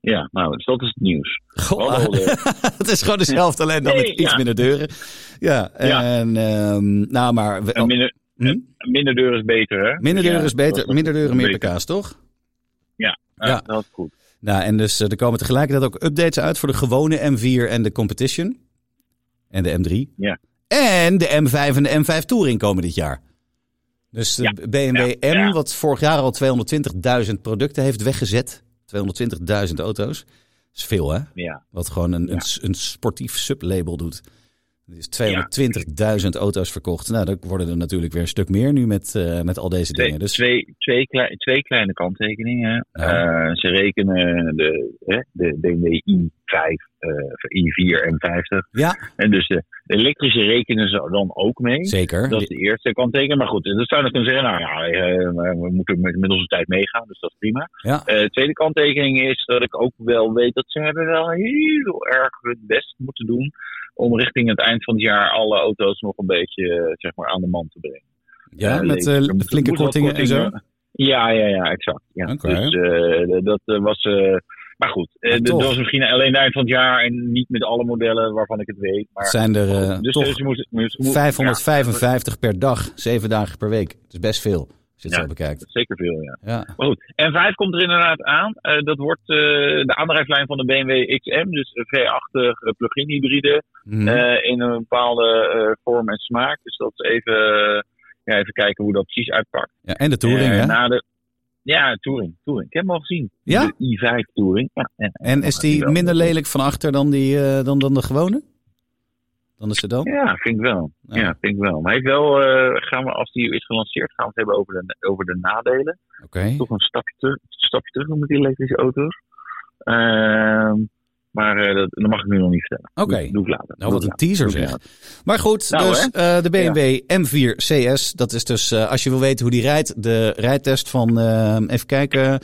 Speaker 2: Ja, nou, dus dat is het nieuws.
Speaker 1: Goh,
Speaker 2: Wel, wel, eh,
Speaker 1: het is gewoon dezelfde, alleen dan met
Speaker 2: Nee,
Speaker 1: iets
Speaker 2: ja.
Speaker 1: minder deuren. Ja,
Speaker 2: Ja.
Speaker 1: en ehm, nou, maar we-
Speaker 2: en minder,
Speaker 1: hm?
Speaker 2: minder deur is beter, hè?
Speaker 1: minder
Speaker 2: Ja,
Speaker 1: deuren is
Speaker 2: dat-
Speaker 1: beter,
Speaker 2: dat-
Speaker 1: minder deuren meer
Speaker 2: beter.
Speaker 1: pk's, toch?
Speaker 2: Ja, eh,
Speaker 1: Ja.
Speaker 2: dat is goed.
Speaker 1: Nou, en dus eh, er komen tegelijkertijd ook updates uit voor de gewone M4 en de Competition. En de M3.
Speaker 2: Ja.
Speaker 1: En de M5 en de M5 Touring komen dit jaar. Dus de
Speaker 2: Ja.
Speaker 1: BMW
Speaker 2: Ja.
Speaker 1: M,
Speaker 2: Ja.
Speaker 1: wat vorig jaar al 220.000 producten heeft weggezet. 220.000 auto's. Dat is veel, hè?
Speaker 2: Ja.
Speaker 1: Wat gewoon een, een,
Speaker 2: Ja.
Speaker 1: s- een sportief sublabel doet. Er is 220.000 auto's verkocht. Nou, dat worden er natuurlijk weer een stuk meer nu met, eh, met al deze
Speaker 2: Twee,
Speaker 1: dingen. Dus
Speaker 2: twee, twee, klei- twee kleine kanttekeningen.
Speaker 1: Ja.
Speaker 2: Eh, ze rekenen de, hè, de BMW i5, eh, i4 en 50.
Speaker 1: ja,
Speaker 2: En dus de, de elektrische rekenen ze dan ook mee.
Speaker 1: zeker.
Speaker 2: Dat is de eerste kanttekening. Maar goed, dat zou je kunnen zeggen, nou ja, eh, we moeten met, met onze tijd meegaan, dus dat is prima.
Speaker 1: Ja.
Speaker 2: Eh, de tweede kanttekening is dat ik ook wel weet dat ze hebben wel heel erg hun best moeten doen om richting het eind van het jaar alle auto's nog een beetje eh, zeg maar, aan de man te brengen.
Speaker 1: Ja,
Speaker 2: Eh,
Speaker 1: met
Speaker 2: nee,
Speaker 1: eh,
Speaker 2: er moet-
Speaker 1: flinke
Speaker 2: moet wat
Speaker 1: kortingen en zo.
Speaker 2: Ja, ja, ja, exact. Ja.
Speaker 1: Oké.
Speaker 2: Dus eh, dat eh, was... eh, maar goed, eh,
Speaker 1: Maar
Speaker 2: dat
Speaker 1: toch.
Speaker 2: was misschien alleen het eind van het jaar en niet met alle modellen waarvan ik het weet.
Speaker 1: Het
Speaker 2: Maar,
Speaker 1: zijn er eh,
Speaker 2: dus
Speaker 1: toch
Speaker 2: dus je moet, moet- moet-
Speaker 1: 555 per dag, zeven dagen per week. Dat is best veel, als je het
Speaker 2: Ja.
Speaker 1: zo bekijkt.
Speaker 2: ja, zeker veel, ja.
Speaker 1: Ja,
Speaker 2: Maar goed, M5 komt er inderdaad aan. Eh, dat wordt eh, de aandrijflijn van de BMW XM, dus een V80 eh, plug-in hybride
Speaker 1: Mhm.
Speaker 2: eh, in een bepaalde eh, vorm en smaak. Dus dat is even, eh, ja, even kijken hoe dat precies uitpakt.
Speaker 1: ja en de Touring,
Speaker 2: Eh,
Speaker 1: hè?
Speaker 2: na de, ja, Touring, Touring. Ik heb hem al gezien.
Speaker 1: Ja?
Speaker 2: De i5 Touring. Ja, ja.
Speaker 1: En is die
Speaker 2: wel.
Speaker 1: minder lelijk van achter dan, die, eh, dan, dan de gewone? Dan de sedan?
Speaker 2: Oh, ja vind ik wel.
Speaker 1: Ja.
Speaker 2: Ja. vind ik wel. Maar hij heeft wel, eh, gaan we, als die is gelanceerd, gaan we het hebben over de, over de nadelen.
Speaker 1: Oké.
Speaker 2: toch een stapje, ter- stapje terug met die elektrische auto's. Ehm, maar eh, dat, dat mag ik nu nog niet vertellen.
Speaker 1: Oké.
Speaker 2: Doe, doe ik later.
Speaker 1: Nou, wat
Speaker 2: Doe ik
Speaker 1: een teaser
Speaker 2: later. Doe ik
Speaker 1: zeg.
Speaker 2: later.
Speaker 1: Maar goed,
Speaker 2: Nou,
Speaker 1: dus eh, de BMW M4 CS. Dat is dus, eh, als je wil weten hoe die rijdt, de rijtest van, eh, even kijken,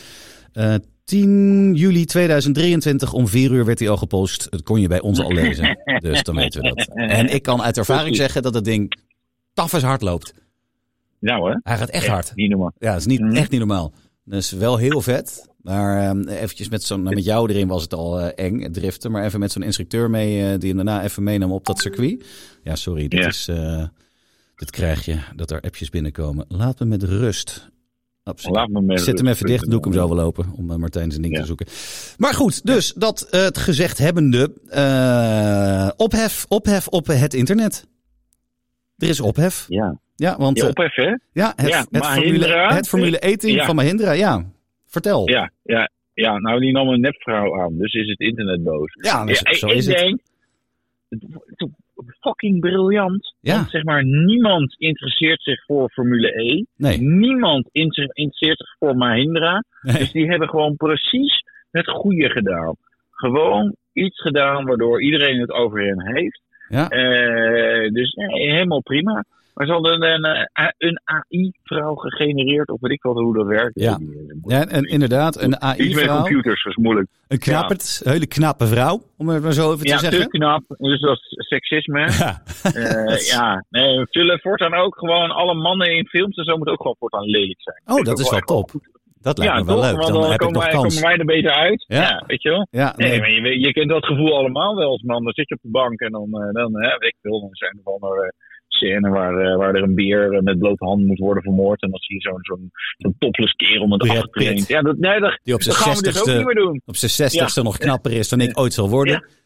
Speaker 1: eh, 10 juli 2023 om 4 uur werd hij al gepost. Het kon je bij ons al lezen, dus dan weten we dat. En ik kan uit ervaring
Speaker 2: Precies.
Speaker 1: zeggen dat het ding taf is hard loopt.
Speaker 2: Nou hè,
Speaker 1: Hij gaat echt hard.
Speaker 2: niet normaal.
Speaker 1: Ja, dat is niet,
Speaker 2: Mhm.
Speaker 1: echt niet normaal. Dus wel heel vet. Maar ehm, eventjes met, zo'n, met jou erin was het al eh, eng, het driften. Maar even met zo'n instructeur mee, eh, die hem daarna even meenam op dat circuit. Ja, sorry, dit
Speaker 2: Ja.
Speaker 1: is... eh, dit krijg je, dat er appjes binnenkomen. Laat me met rust. Absoluut.
Speaker 2: Laat me
Speaker 1: Ik zet hem even dicht, doe ik hem zo wel lopen om eh, Martijn zijn ding
Speaker 2: Ja.
Speaker 1: te zoeken. Maar goed, dus dat eh, het gezegd hebbende, eh, ophef, ophef op het internet. Er is ophef.
Speaker 2: Ja,
Speaker 1: Ja, want
Speaker 2: ja
Speaker 1: eh,
Speaker 2: opheffen, hè?
Speaker 1: ja, het,
Speaker 2: ja,
Speaker 1: het, formule,
Speaker 2: Mahindra.
Speaker 1: het Formule 1 team
Speaker 2: Ja.
Speaker 1: van Mahindra, ja. Vertel. Ja,
Speaker 2: Ja, ja, ja, nou die nam een nepvrouw aan, dus is het internet boos.
Speaker 1: dus
Speaker 2: Ja, ik-
Speaker 1: zo
Speaker 2: ik
Speaker 1: is het.
Speaker 2: denk, het wordt fucking briljant.
Speaker 1: Ja.
Speaker 2: Want zeg maar, niemand interesseert zich voor Formule E.
Speaker 1: Nee.
Speaker 2: Niemand inter- interesseert zich voor Mahindra.
Speaker 1: Nee.
Speaker 2: Dus die hebben gewoon precies het goede gedaan. Gewoon iets gedaan waardoor iedereen het over hen heeft.
Speaker 1: Ja.
Speaker 2: Eh, dus ja, helemaal prima. Maar ze hadden een, eh, A- een AI-vrouw gegenereerd, of weet ik wel hoe dat werkt. eh,
Speaker 1: Ja. Ja, en inderdaad, een
Speaker 2: Iets met
Speaker 1: AI-vrouw.
Speaker 2: computers is moeilijk.
Speaker 1: Een knappert, een hele knappe vrouw, om het maar zo even
Speaker 2: ja,
Speaker 1: te zeggen.
Speaker 2: te knap. Dus dat is seksisme.
Speaker 1: Ja,
Speaker 2: Eh, ja, nee, we vullen voortaan ook gewoon alle mannen in films en zo moet ook gewoon voortaan lelijk zijn.
Speaker 1: Oh, dat is wel
Speaker 2: echt wel
Speaker 1: top. dat lijkt me wel
Speaker 2: toch?
Speaker 1: leuk.
Speaker 2: Want
Speaker 1: Dan heb ik
Speaker 2: komen
Speaker 1: nog
Speaker 2: wij,
Speaker 1: kans.
Speaker 2: komen wij er beter uit.
Speaker 1: Ja.
Speaker 2: Ja, weet je wel.
Speaker 1: Ja,
Speaker 2: Nee,
Speaker 1: nee.
Speaker 2: maar je, weet- je kent dat gevoel allemaal wel als man. Dan zit je op de bank en dan, eh, dan eh, weet ik veel, dan zijn er van er scène waar, eh, waar er een beer eh, met blote handen moet worden vermoord. En dan zie je zo'n zo'n zo'n topless kerel met de
Speaker 1: Brad
Speaker 2: achterkleed.
Speaker 1: Pitt.
Speaker 2: Ja, dat, nee, dat,
Speaker 1: Die op
Speaker 2: dat gaan
Speaker 1: zijn
Speaker 2: we dus ook niet
Speaker 1: 60ste
Speaker 2: meer doen.
Speaker 1: op zijn 60ste nog knapper is dan ik ooit zal worden.
Speaker 2: Ja.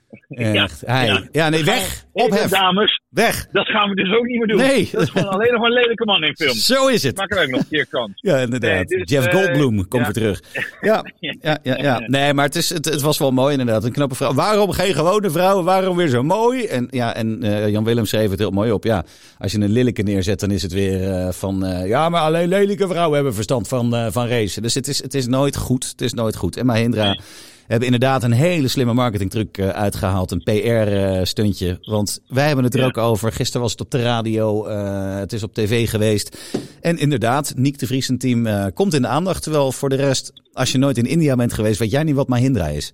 Speaker 1: Echt. Hij. Ja.
Speaker 2: Ja.
Speaker 1: nee, weg.
Speaker 2: Nee,
Speaker 1: Ophef.
Speaker 2: dames,
Speaker 1: Weg.
Speaker 2: dat gaan we dus ook niet meer doen.
Speaker 1: Nee.
Speaker 2: Dat is gewoon alleen nog maar lelijke man in film.
Speaker 1: Zo is het.
Speaker 2: Maak er ook nog een keer kans.
Speaker 1: Ja, inderdaad.
Speaker 2: Nee, dus,
Speaker 1: Jeff
Speaker 2: eh,
Speaker 1: Goldblum, kom
Speaker 2: ja.
Speaker 1: weer terug. Ja, ja, ja, ja. Nee, maar het, is, het, het was wel mooi inderdaad. Een knappe vrouw. Waarom geen gewone vrouwen? Waarom weer zo mooi? En, ja, en eh, Jan Willem schreef het heel mooi op. Ja, als je een lelijke neerzet, dan is het weer eh, van... eh, ja, maar alleen lelijke vrouwen hebben verstand van, eh, van racen. Dus het is, het is nooit goed. Het is nooit goed. En Mahindra hebben inderdaad een hele slimme marketingtruc eh, uitgehaald. Een PR-stuntje. Want wij hebben het er
Speaker 2: Ja.
Speaker 1: ook over. Gisteren was het op de radio. eh, het is op tv geweest. En inderdaad, Niek de Vries en team eh, komt in de aandacht. Terwijl voor de rest, als je nooit in India bent geweest, weet jij niet wat Mahindra is.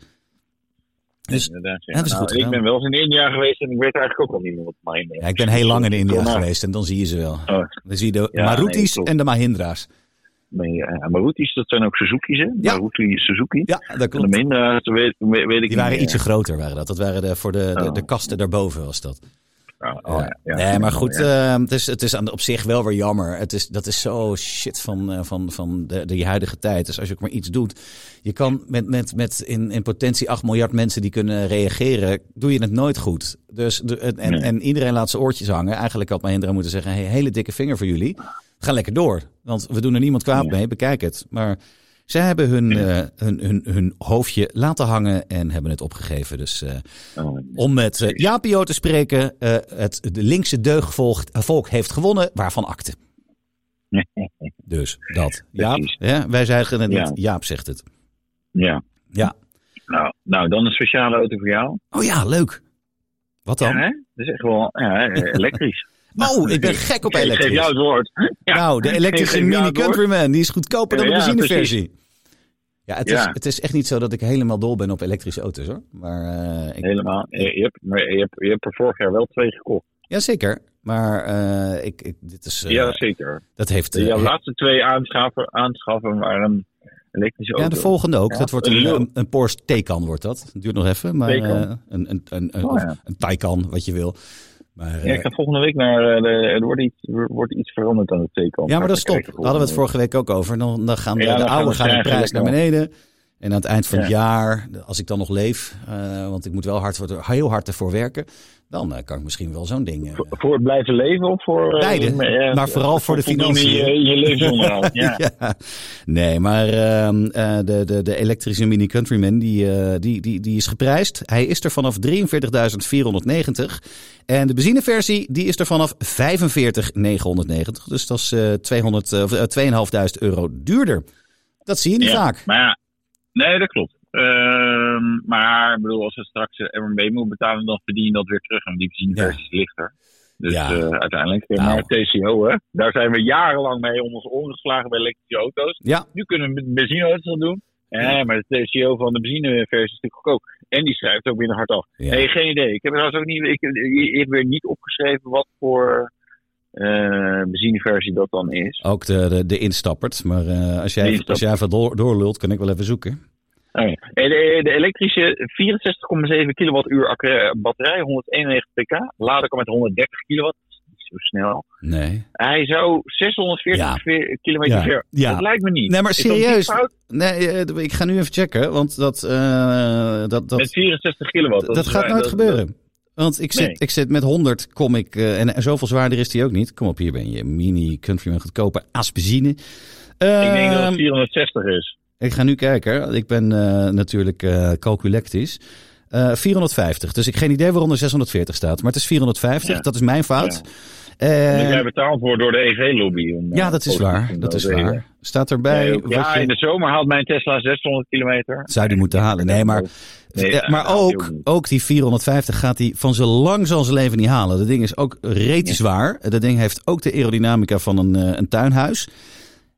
Speaker 1: Dus-
Speaker 2: Inderdaad, ja.
Speaker 1: Ja, dat is
Speaker 2: Nou,
Speaker 1: goed
Speaker 2: ik
Speaker 1: gedaan.
Speaker 2: ben wel eens in India geweest en ik weet eigenlijk ook al niet meer wat mijn
Speaker 1: Ja, ik ben heel lang in India geweest en dan zie je ze wel.
Speaker 2: Oh.
Speaker 1: Dan zie je de
Speaker 2: Ja, nee,
Speaker 1: Marutis
Speaker 2: klopt.
Speaker 1: en de Mahindra's.
Speaker 2: Nee, ja, Maruti's, eh, dat zijn ook Suzuki's, hè?
Speaker 1: Ja.
Speaker 2: Maruti, Suzuki.
Speaker 1: Ja, dat
Speaker 2: En de
Speaker 1: klopt.
Speaker 2: Mindra's, dat weet, weet, weet ik
Speaker 1: Die waren
Speaker 2: niet.
Speaker 1: ietsje groter, waren dat. Dat waren de, voor de,
Speaker 2: Oh.
Speaker 1: de, de kasten daarboven was dat.
Speaker 2: meer. Oh, oh, ja. Ja.
Speaker 1: nee, maar goed,
Speaker 2: Ja.
Speaker 1: eh, het is, het is aan, op zich wel weer jammer. Het is, dat is zo shit van, eh, van, van de, de huidige tijd. Dus als je ook maar iets doet. Je kan met, met, met in, in potentie 8 miljard mensen die kunnen reageren, doe je het nooit goed. Dus, de- en, en,
Speaker 2: Nee.
Speaker 1: en iedereen laat zijn oortjes hangen. Eigenlijk had Mahindra moeten zeggen, hey, hele dikke vinger voor jullie. Ga lekker door, want we doen er niemand kwaad
Speaker 2: Ja.
Speaker 1: mee, bekijk het. Maar zij hebben hun, eh, hun, hun, hun hoofdje laten hangen en hebben het opgegeven. Dus... eh,
Speaker 2: Oh,
Speaker 1: om met eh, Japio te spreken, eh, het de linkse deugdvolk eh, volk heeft gewonnen, waarvan akte. Dus dat. Jaap,
Speaker 2: Precies.
Speaker 1: hè, wij zeggen het niet,
Speaker 2: Ja.
Speaker 1: Jaap zegt het.
Speaker 2: ja.
Speaker 1: Ja.
Speaker 2: Nou, nou, dan een speciale auto voor jou.
Speaker 1: Oh ja, leuk. Wat dan?
Speaker 2: Ja, hè? Dat is echt wel ja, eh, elektrisch.
Speaker 1: Oh, ik ben gek op
Speaker 2: Ik geef
Speaker 1: elektrisch.
Speaker 2: jou het woord. Ja.
Speaker 1: Nou, de elektrische
Speaker 2: Ik geef jou
Speaker 1: Mini
Speaker 2: het woord.
Speaker 1: Countryman, die is goedkoper dan de
Speaker 2: Ja, ja,
Speaker 1: benzineversie. Ja, het, Is,
Speaker 2: Ja.
Speaker 1: het is echt niet zo dat ik helemaal dol ben op elektrische auto's hoor. Maar eh, ik
Speaker 2: Helemaal. Je, je, hebt, maar je, hebt, je hebt er vorig jaar wel twee gekocht.
Speaker 1: Jazeker. Maar eh, ik, ik, dit is. eh,
Speaker 2: ja, zeker.
Speaker 1: dat heeft. eh,
Speaker 2: De, jouw laatste twee aanschaffen, aanschaffen waren elektrische
Speaker 1: Ja,
Speaker 2: auto's.
Speaker 1: de volgende ook.
Speaker 2: Ja,
Speaker 1: dat wordt een,
Speaker 2: een lul.
Speaker 1: een, een Porsche Taycan wordt dat. Het duurt nog even, maar eh,
Speaker 2: Taycan.
Speaker 1: een, een, een, een,
Speaker 2: Oh,
Speaker 1: of
Speaker 2: ja.
Speaker 1: een Taycan, wat je wil. Maar, eh,
Speaker 2: Ja, ik ga volgende week naar. eh, de- er wordt iets, er wordt iets veranderd aan de teken.
Speaker 1: ja, maar dat is top. Daar hadden we het vorige week ook over. Dan, dan gaan de,
Speaker 2: Ja,
Speaker 1: de
Speaker 2: dan gaan
Speaker 1: oude
Speaker 2: we
Speaker 1: gaan de
Speaker 2: krijgen,
Speaker 1: prijs naar
Speaker 2: lekker.
Speaker 1: beneden. En aan het eind van het
Speaker 2: Ja.
Speaker 1: jaar, als ik dan nog leef, eh, want ik moet wel hard, voor- heel hard ervoor werken, dan eh, kan ik misschien wel zo'n ding. eh,
Speaker 2: Voor, voor het blijven leven of voor. eh,
Speaker 1: Beide,
Speaker 2: eh,
Speaker 1: maar vooral voor de
Speaker 2: voldoende
Speaker 1: financiën.
Speaker 2: eh, Je, je levensonderhoud. Ja.
Speaker 1: Ja. Nee, maar ehm, eh, de, de, de elektrische Mini Countryman die, eh, die, die, die is geprijsd. Hij is er vanaf 43.490. En de benzineversie die is er vanaf 45.990. Dus dat is eh 200, eh, of, eh, 2.500 euro duurder. Dat zie je niet
Speaker 2: Ja,
Speaker 1: vaak.
Speaker 2: Maar ja, nee, dat klopt. Ehm, maar ik bedoel, als we straks de MB moet betalen, dan verdien je dat weer terug. Want die benzineversie is lichter. Dus
Speaker 1: Ja.
Speaker 2: eh, uiteindelijk. eh,
Speaker 1: Nou.
Speaker 2: Maar TCO, hè, daar zijn we jarenlang mee om ons oren geslagen bij elektrische auto's.
Speaker 1: Ja,
Speaker 2: Nu kunnen we met benzineauto's dat doen. Ja, maar de TCO van de benzineversie is natuurlijk goedkoop. En die schrijft ook binnen hard af.
Speaker 1: Ja.
Speaker 2: Nee, geen idee. Ik heb trouwens ook niet, ik, ik heb weer niet opgeschreven wat voor eh, benzineversie dat dan is.
Speaker 1: ook de, de, de instappert. Maar eh, als
Speaker 2: De
Speaker 1: jij,
Speaker 2: instappert.
Speaker 1: als jij even door, doorlult, kan ik wel even zoeken.
Speaker 2: Oh, ja. Eh, de, de elektrische 64,7 kilowattuur accu- eh, batterij, 191 pk. Lader kan met 130 kilowatt. zo snel.
Speaker 1: Nee.
Speaker 2: Hij zou 640
Speaker 1: Ja.
Speaker 2: ve- kilometer
Speaker 1: Ja.
Speaker 2: ver.
Speaker 1: Ja.
Speaker 2: Dat lijkt me niet.
Speaker 1: Nee, maar
Speaker 2: Is dat
Speaker 1: serieus.
Speaker 2: niet fout?
Speaker 1: Nee, eh, ik ga nu even checken, want dat, eh, dat, dat,
Speaker 2: Met 64 kilowatt.
Speaker 1: dat,
Speaker 2: is-
Speaker 1: gaat nooit
Speaker 2: dat-
Speaker 1: gebeuren. Want ik zit,
Speaker 2: Nee.
Speaker 1: ik zit met 100 kom ik, eh, en, en zoveel zwaarder is die ook niet. Kom op, hier ben je mini countryman goedkope aspezine.
Speaker 2: dat- ik denk dat
Speaker 1: Ehm,
Speaker 2: het 460 is.
Speaker 1: Ik ga nu kijken. Ik ben eh, natuurlijk eh calculectisch. Eh, 450. Dus ik geen idee waarom er 640 staat. Maar het is 450.
Speaker 2: Ja.
Speaker 1: Dat is mijn fout. Eh,
Speaker 2: Want jij
Speaker 1: Ja,
Speaker 2: betaald wordt door de EV-lobby. om, eh,
Speaker 1: dat is
Speaker 2: positief
Speaker 1: waar.
Speaker 2: te
Speaker 1: Dat is
Speaker 2: noteren.
Speaker 1: waar. Staat erbij.
Speaker 2: Nee,
Speaker 1: wat
Speaker 2: ja,
Speaker 1: je-
Speaker 2: in de zomer haalt mijn Tesla 600 kilometer.
Speaker 1: Zou die moeten halen. Nee, maar,
Speaker 2: Nee,
Speaker 1: ja,
Speaker 2: dat
Speaker 1: maar
Speaker 2: gaat hij
Speaker 1: ook,
Speaker 2: ook niet.
Speaker 1: ook die 450 gaat hij van zo lang zal zijn leven niet halen. Dat ding is ook rete zwaar. Dat ding heeft ook de aerodynamica van een, eh, een tuinhuis.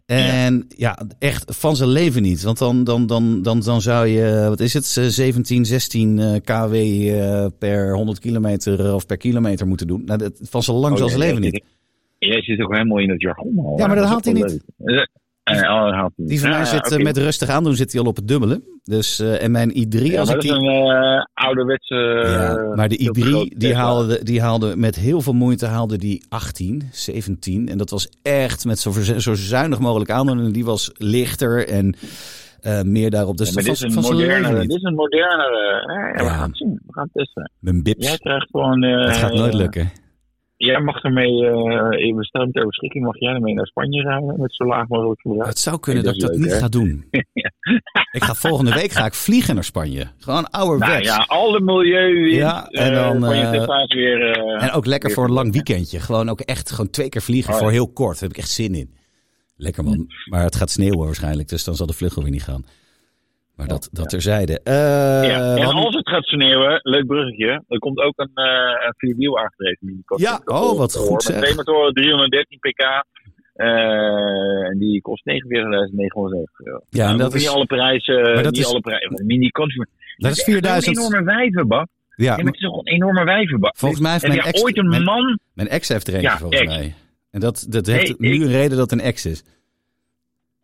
Speaker 1: En ja. echt van zijn leven niet. Want dan, dan, dan, dan, dan zou je, wat is het, eh, 17, 16 eh, kW eh, per 100 kilometer of per kilometer moeten doen. Nou, dat, van zo lang
Speaker 2: Oh,
Speaker 1: zal
Speaker 2: ja,
Speaker 1: zijn leven
Speaker 2: ja,
Speaker 1: niet.
Speaker 2: Jij zit ook helemaal in het jargon. al,
Speaker 1: Ja, maar
Speaker 2: hè?
Speaker 1: dat haalt
Speaker 2: is
Speaker 1: hij
Speaker 2: wel leuk. Eh, eh, oh, dat haalt hij niet.
Speaker 1: Die van mij
Speaker 2: Ja,
Speaker 1: zit eh,
Speaker 2: oké.
Speaker 1: met rustig aandoen, zit hij al op het dubbele. Dus, eh, en mijn i3,
Speaker 2: Ja,
Speaker 1: als
Speaker 2: maar
Speaker 1: ik
Speaker 2: dat
Speaker 1: die...
Speaker 2: is een eh, ouderwetse...
Speaker 1: Ja,
Speaker 2: eh,
Speaker 1: maar de
Speaker 2: heel grote
Speaker 1: i3 die
Speaker 2: Tesla.
Speaker 1: haalde, die haalde met heel veel moeite haalde die 18, 17. En dat was echt met zo, verze- zo zuinig mogelijk aandoen. En die was lichter en eh, meer daarop. Dus
Speaker 2: Ja,
Speaker 1: dat
Speaker 2: maar dit
Speaker 1: was
Speaker 2: is
Speaker 1: van
Speaker 2: een
Speaker 1: zijn leven
Speaker 2: modernere.
Speaker 1: niet.
Speaker 2: Dit is een modernere. hè? Ja, we
Speaker 1: Ja.
Speaker 2: gaan het zien. We gaan het testen.
Speaker 1: Mijn bips,
Speaker 2: Jij krijgt gewoon... eh,
Speaker 1: dat gaat nooit lukken.
Speaker 2: Jij mag ermee... eh in bestemd ter beschikking mag jij ermee naar Spanje rijden. Met zo laag mogelijk verbruik.
Speaker 1: Het zou kunnen dat
Speaker 2: dat
Speaker 1: ik
Speaker 2: is
Speaker 1: dat
Speaker 2: leuk,
Speaker 1: niet
Speaker 2: hè?
Speaker 1: ga doen. Ik ga volgende week ga ik vliegen naar Spanje. Gewoon ouderwets.
Speaker 2: Nou ja, al de milieu
Speaker 1: Ja, en
Speaker 2: en
Speaker 1: dan,
Speaker 2: dan, van je
Speaker 1: eh,
Speaker 2: Tesla is weer... eh,
Speaker 1: En ook lekker voor een lang weekendje. Gewoon ook echt gewoon twee keer vliegen
Speaker 2: Oh, ja. Mm.
Speaker 1: voor heel kort. Daar heb ik echt zin in. Lekker man. Maar het gaat sneeuwen waarschijnlijk, dus dan zal de vlucht weer niet gaan. Maar dat, dat terzijde. Eh,
Speaker 2: Oh, ja.
Speaker 1: we
Speaker 2: En
Speaker 1: hadden-
Speaker 2: als het gaat sneeuwen, leuk bruggetje, er komt ook een, eh een vierwiel aangedreven minicopter.
Speaker 1: Ja, oh, wat goed
Speaker 2: Met
Speaker 1: zeg.
Speaker 2: twee motoren, 313 pk. eh, en die kost 49.990 euro.
Speaker 1: ja, en
Speaker 2: Nou,
Speaker 1: dat
Speaker 2: niet
Speaker 1: is,
Speaker 2: alle prijzen,
Speaker 1: Maar dat
Speaker 2: niet
Speaker 1: is-
Speaker 2: alle prijzen. Een mini-consumer.
Speaker 1: dat is 4000.
Speaker 2: Een enorme wijvenbak.
Speaker 1: Ja,
Speaker 2: Ja, maar het is toch een enorme wijvenbak.
Speaker 1: volgens mij heeft
Speaker 2: Heb
Speaker 1: mijn
Speaker 2: jij
Speaker 1: ex,
Speaker 2: ooit een
Speaker 1: mijn,
Speaker 2: man...
Speaker 1: mijn ex heeft er eentje
Speaker 2: Ja,
Speaker 1: volgens
Speaker 2: ex.
Speaker 1: mij. En dat, dat heeft
Speaker 2: Nee,
Speaker 1: nu
Speaker 2: ik-
Speaker 1: een reden dat het een ex is.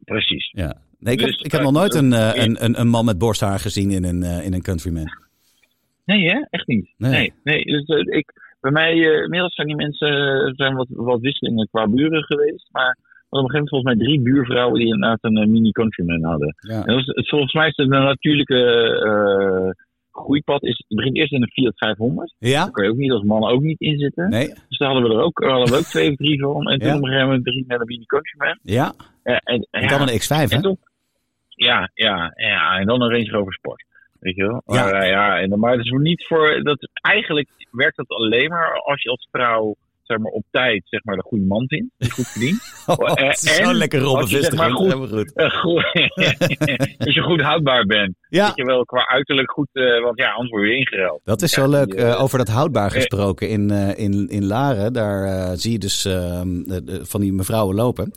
Speaker 2: Precies.
Speaker 1: Ja. Nee, ik,
Speaker 2: Dus,
Speaker 1: heb, ik heb
Speaker 2: eh,
Speaker 1: nog nooit een, eh,
Speaker 2: eh,
Speaker 1: een, een, een man met borsthaar gezien in een, eh, in een countryman.
Speaker 2: Nee, hè? Echt niet.
Speaker 1: Nee.
Speaker 2: Nee. nee, Dus, eh, ik, bij mij, eh, inmiddels zijn die mensen eh, zijn wat, wat wisselingen qua buren geweest. Maar op een gegeven moment volgens mij drie buurvrouwen die inderdaad een eh, mini-countryman hadden.
Speaker 1: Ja.
Speaker 2: En dat is- het, volgens mij is het een natuurlijke eh, groeipad. Is, het begint eerst in een Fiat 500.
Speaker 1: ja?
Speaker 2: Daar kan je ook niet als man ook niet in zitten.
Speaker 1: Nee?
Speaker 2: Dus daar hadden we er ook, hadden we ook twee of drie van. En toen
Speaker 1: Ja.
Speaker 2: op een gegeven moment drie naar de mini-countryman.
Speaker 1: Ja?
Speaker 2: Eh, en, en,
Speaker 1: En dan een X5, hè?
Speaker 2: en toen- ja, ja, ja, en dan een Range Rover Sport. Weet je wel?
Speaker 1: Ja.
Speaker 2: Ja, ja en dan, maar het is niet voor. Dat, eigenlijk werkt dat alleen maar als je als vrouw zeg maar, op tijd zeg maar, de goede man vindt, die goed verdient.
Speaker 1: Oh, het is
Speaker 2: eh, en-
Speaker 1: zo lekker Robin
Speaker 2: als je zeg
Speaker 1: Visser.
Speaker 2: maar goed-
Speaker 1: Helemaal goed.
Speaker 2: Eh, goed- Als je goed houdbaar bent.
Speaker 1: Ja,
Speaker 2: Dat je wel qua uiterlijk goed. eh, want ja, anders word je ingeruild.
Speaker 1: Dat is
Speaker 2: Ja,
Speaker 1: zo leuk.
Speaker 2: die, eh,
Speaker 1: Eh, over dat houdbaar gesproken in, eh, in, in Laren, daar eh, zie je dus ehm, de- de- van die mevrouwen lopen.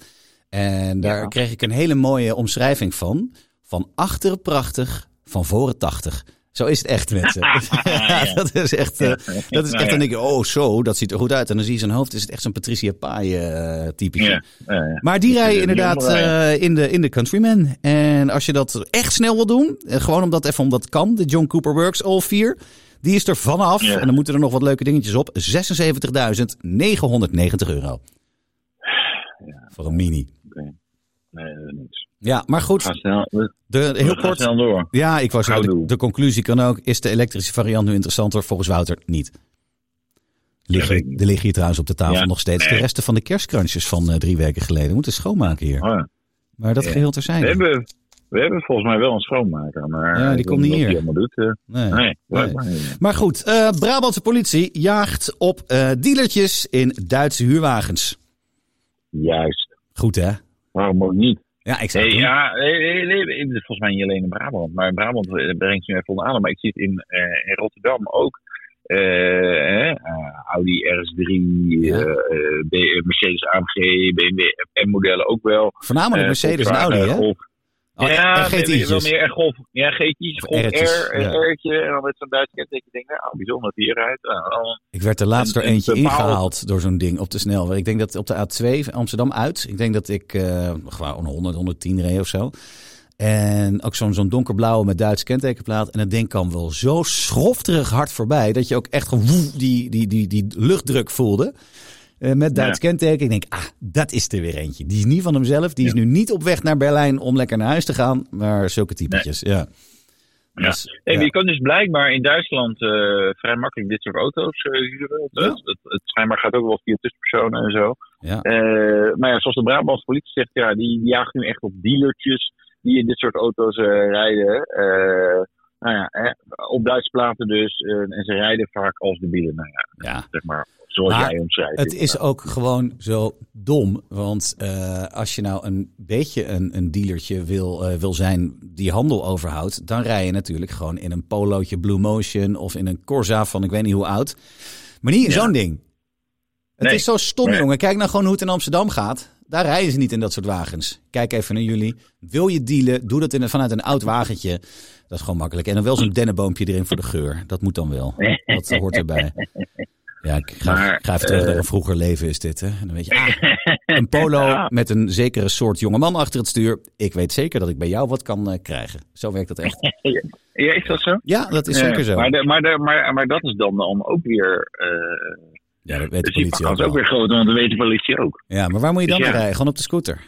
Speaker 1: En daar
Speaker 2: Ja.
Speaker 1: kreeg ik een hele mooie omschrijving van. Van achteren prachtig, van voren tachtig. Zo is het echt, mensen.
Speaker 2: Ja.
Speaker 1: dat is echt, eh, dat is
Speaker 2: Nou
Speaker 1: echt
Speaker 2: ja.
Speaker 1: dan denk je, oh zo, dat ziet er goed uit. En dan zie je zijn hoofd, is het echt zo'n Patricia Pai eh typetje.
Speaker 2: Ja, ja, ja.
Speaker 1: Maar die
Speaker 2: Dus
Speaker 1: rijden
Speaker 2: die
Speaker 1: inderdaad
Speaker 2: jongeren
Speaker 1: eh, in, de, in de Countryman. En als je dat echt snel wil doen, eh, gewoon omdat even omdat het kan, de John Cooper Works All 4, die is er vanaf.
Speaker 2: Ja.
Speaker 1: En dan moeten er nog wat leuke dingetjes op. 76.990 euro. Voor een mini.
Speaker 2: Nee, dat is niks.
Speaker 1: Ja, maar
Speaker 2: Ga
Speaker 1: goed,
Speaker 2: snel, we-
Speaker 1: de,
Speaker 2: we
Speaker 1: heel
Speaker 2: gaan
Speaker 1: kort.
Speaker 2: snel door.
Speaker 1: Ja, ik was
Speaker 2: Gauw
Speaker 1: de,
Speaker 2: doen.
Speaker 1: de conclusie kan ook, is de elektrische variant nu interessanter? Volgens Wouter niet. Lig,
Speaker 2: Ja, weet ik niet.
Speaker 1: er liggen hier trouwens op de tafel
Speaker 2: Ja,
Speaker 1: nog steeds de
Speaker 2: nee.
Speaker 1: resten van de kerstkransjes van eh, drie weken geleden. We moeten schoonmaken hier.
Speaker 2: Oh, ja.
Speaker 1: Maar dat
Speaker 2: Ja.
Speaker 1: geheel terzijde.
Speaker 2: we, hebben, we hebben volgens mij wel een schoonmaker. Maar
Speaker 1: Ja, die
Speaker 2: ik weet
Speaker 1: komt
Speaker 2: niet
Speaker 1: niet
Speaker 2: wat die
Speaker 1: hier.
Speaker 2: allemaal doet. eh.
Speaker 1: Nee.
Speaker 2: nee,
Speaker 1: Nee.
Speaker 2: blijkbaar niet.
Speaker 1: Maar goed, eh, Brabantse politie jaagt op eh dealertjes in Duitse huurwagens.
Speaker 2: Juist.
Speaker 1: Goed hè?
Speaker 2: Waarom ook niet?
Speaker 1: Ja, ik zei
Speaker 2: Nee,
Speaker 1: het doen.
Speaker 2: ja, nee, nee, nee, nee, het is volgens mij niet alleen in Brabant. Maar in Brabant eh, brengt ze nu even onder adem. Maar ik zie het in, eh, in Rotterdam ook. Eh, hè, eh, Audi RS3,
Speaker 1: Ja.
Speaker 2: eh, eh, B- eh, Mercedes AMG, BMW M-modellen ook wel.
Speaker 1: Voornamelijk
Speaker 2: Eh,
Speaker 1: Oh, Mercedes en
Speaker 2: Volkswagen,
Speaker 1: Audi hè?
Speaker 2: Golf.
Speaker 1: Oh,
Speaker 2: ja,
Speaker 1: en
Speaker 2: nee, nee, wel
Speaker 1: GTI'tjes.
Speaker 2: meer echt golf. Ja, GT's,
Speaker 1: Of
Speaker 2: golf
Speaker 1: R'tjes,
Speaker 2: R, een
Speaker 1: ja.
Speaker 2: R'tje. En dan met zo'n Duits kenteken. Ik denk, nou, bijzonder dat die hier rijdt. Nou, dan-
Speaker 1: Ik werd er laatst door
Speaker 2: een- een
Speaker 1: eentje
Speaker 2: bepaald-
Speaker 1: ingehaald door zo'n ding op de snelweg. Ik denk dat op de A2 van Amsterdam uit. Ik denk dat ik eh gewoon 100, 110 reed of zo. En ook zo'n zo'n donkerblauwe met Duits kentekenplaat. En dat ding kan wel zo schofterig hard voorbij. Dat je ook echt gewoon woef, die, die, die, die luchtdruk voelde. eh, met Duits
Speaker 2: Ja.
Speaker 1: kenteken. Ik denk, ah, dat is er weer eentje. Die is niet van hemzelf. Die is nu niet op weg naar Berlijn om lekker naar huis te gaan. Maar zulke typetjes, ja.
Speaker 2: Ja.
Speaker 1: Dus,
Speaker 2: Nee, maar
Speaker 1: ja.
Speaker 2: Je kan dus blijkbaar in Duitsland eh, vrij makkelijk dit soort auto's eh, huren.
Speaker 1: Ja.
Speaker 2: Het, het, het schijnbaar gaat ook wel via tussenpersonen en zo.
Speaker 1: Ja.
Speaker 2: Eh, maar ja, zoals de Brabantse politie zegt, ja, die, die jaagt nu echt op dealertjes die in dit soort auto's eh, rijden. Eh, nou ja, hè, op Duitse platen dus. eh, en ze rijden vaak als de bielen, nou ja,
Speaker 1: ja.
Speaker 2: zeg maar, zoals
Speaker 1: Maar
Speaker 2: jij omschrijft.
Speaker 1: Het is ook gewoon zo dom. Want eh, als je nou een beetje een, een dealertje wil, eh, wil zijn die handel overhoudt, dan rij je natuurlijk gewoon in een polootje Blue Motion of in een Corsa van ik weet niet hoe oud. Maar niet in zo'n ding. Het
Speaker 2: Nee.
Speaker 1: is zo stom,
Speaker 2: Nee.
Speaker 1: jongen. Kijk nou gewoon hoe het in Amsterdam gaat. Daar rijden ze niet in dat soort wagens. Kijk even naar jullie. Wil je dealen, doe dat in een, vanuit een oud wagentje. Dat is gewoon makkelijk. En dan wel zo'n dennenboompje erin voor de geur. Dat moet dan wel. Dat hoort erbij. Ja, ik ga,
Speaker 2: Maar, eh,
Speaker 1: ik ga even terug naar een vroeger leven is dit. Hè? En dan weet je, ah, een polo
Speaker 2: Ja.
Speaker 1: met een zekere soort jongeman achter het stuur. Ik weet zeker dat ik bij jou wat kan eh, krijgen. Zo werkt dat echt.
Speaker 2: Ja, is dat zo?
Speaker 1: Ja, dat is
Speaker 2: Ja,
Speaker 1: zeker zo.
Speaker 2: Maar, de, maar, de, maar, maar dat is dan, dan ook weer. eh
Speaker 1: Ja, dat weet de
Speaker 2: dus die
Speaker 1: politie ook
Speaker 2: kans ook
Speaker 1: wel.
Speaker 2: weer groot, want dat weet de politie ook.
Speaker 1: Ja, maar waar moet je dan
Speaker 2: Dus
Speaker 1: mee
Speaker 2: ja.
Speaker 1: rijden? Gewoon op de scooter.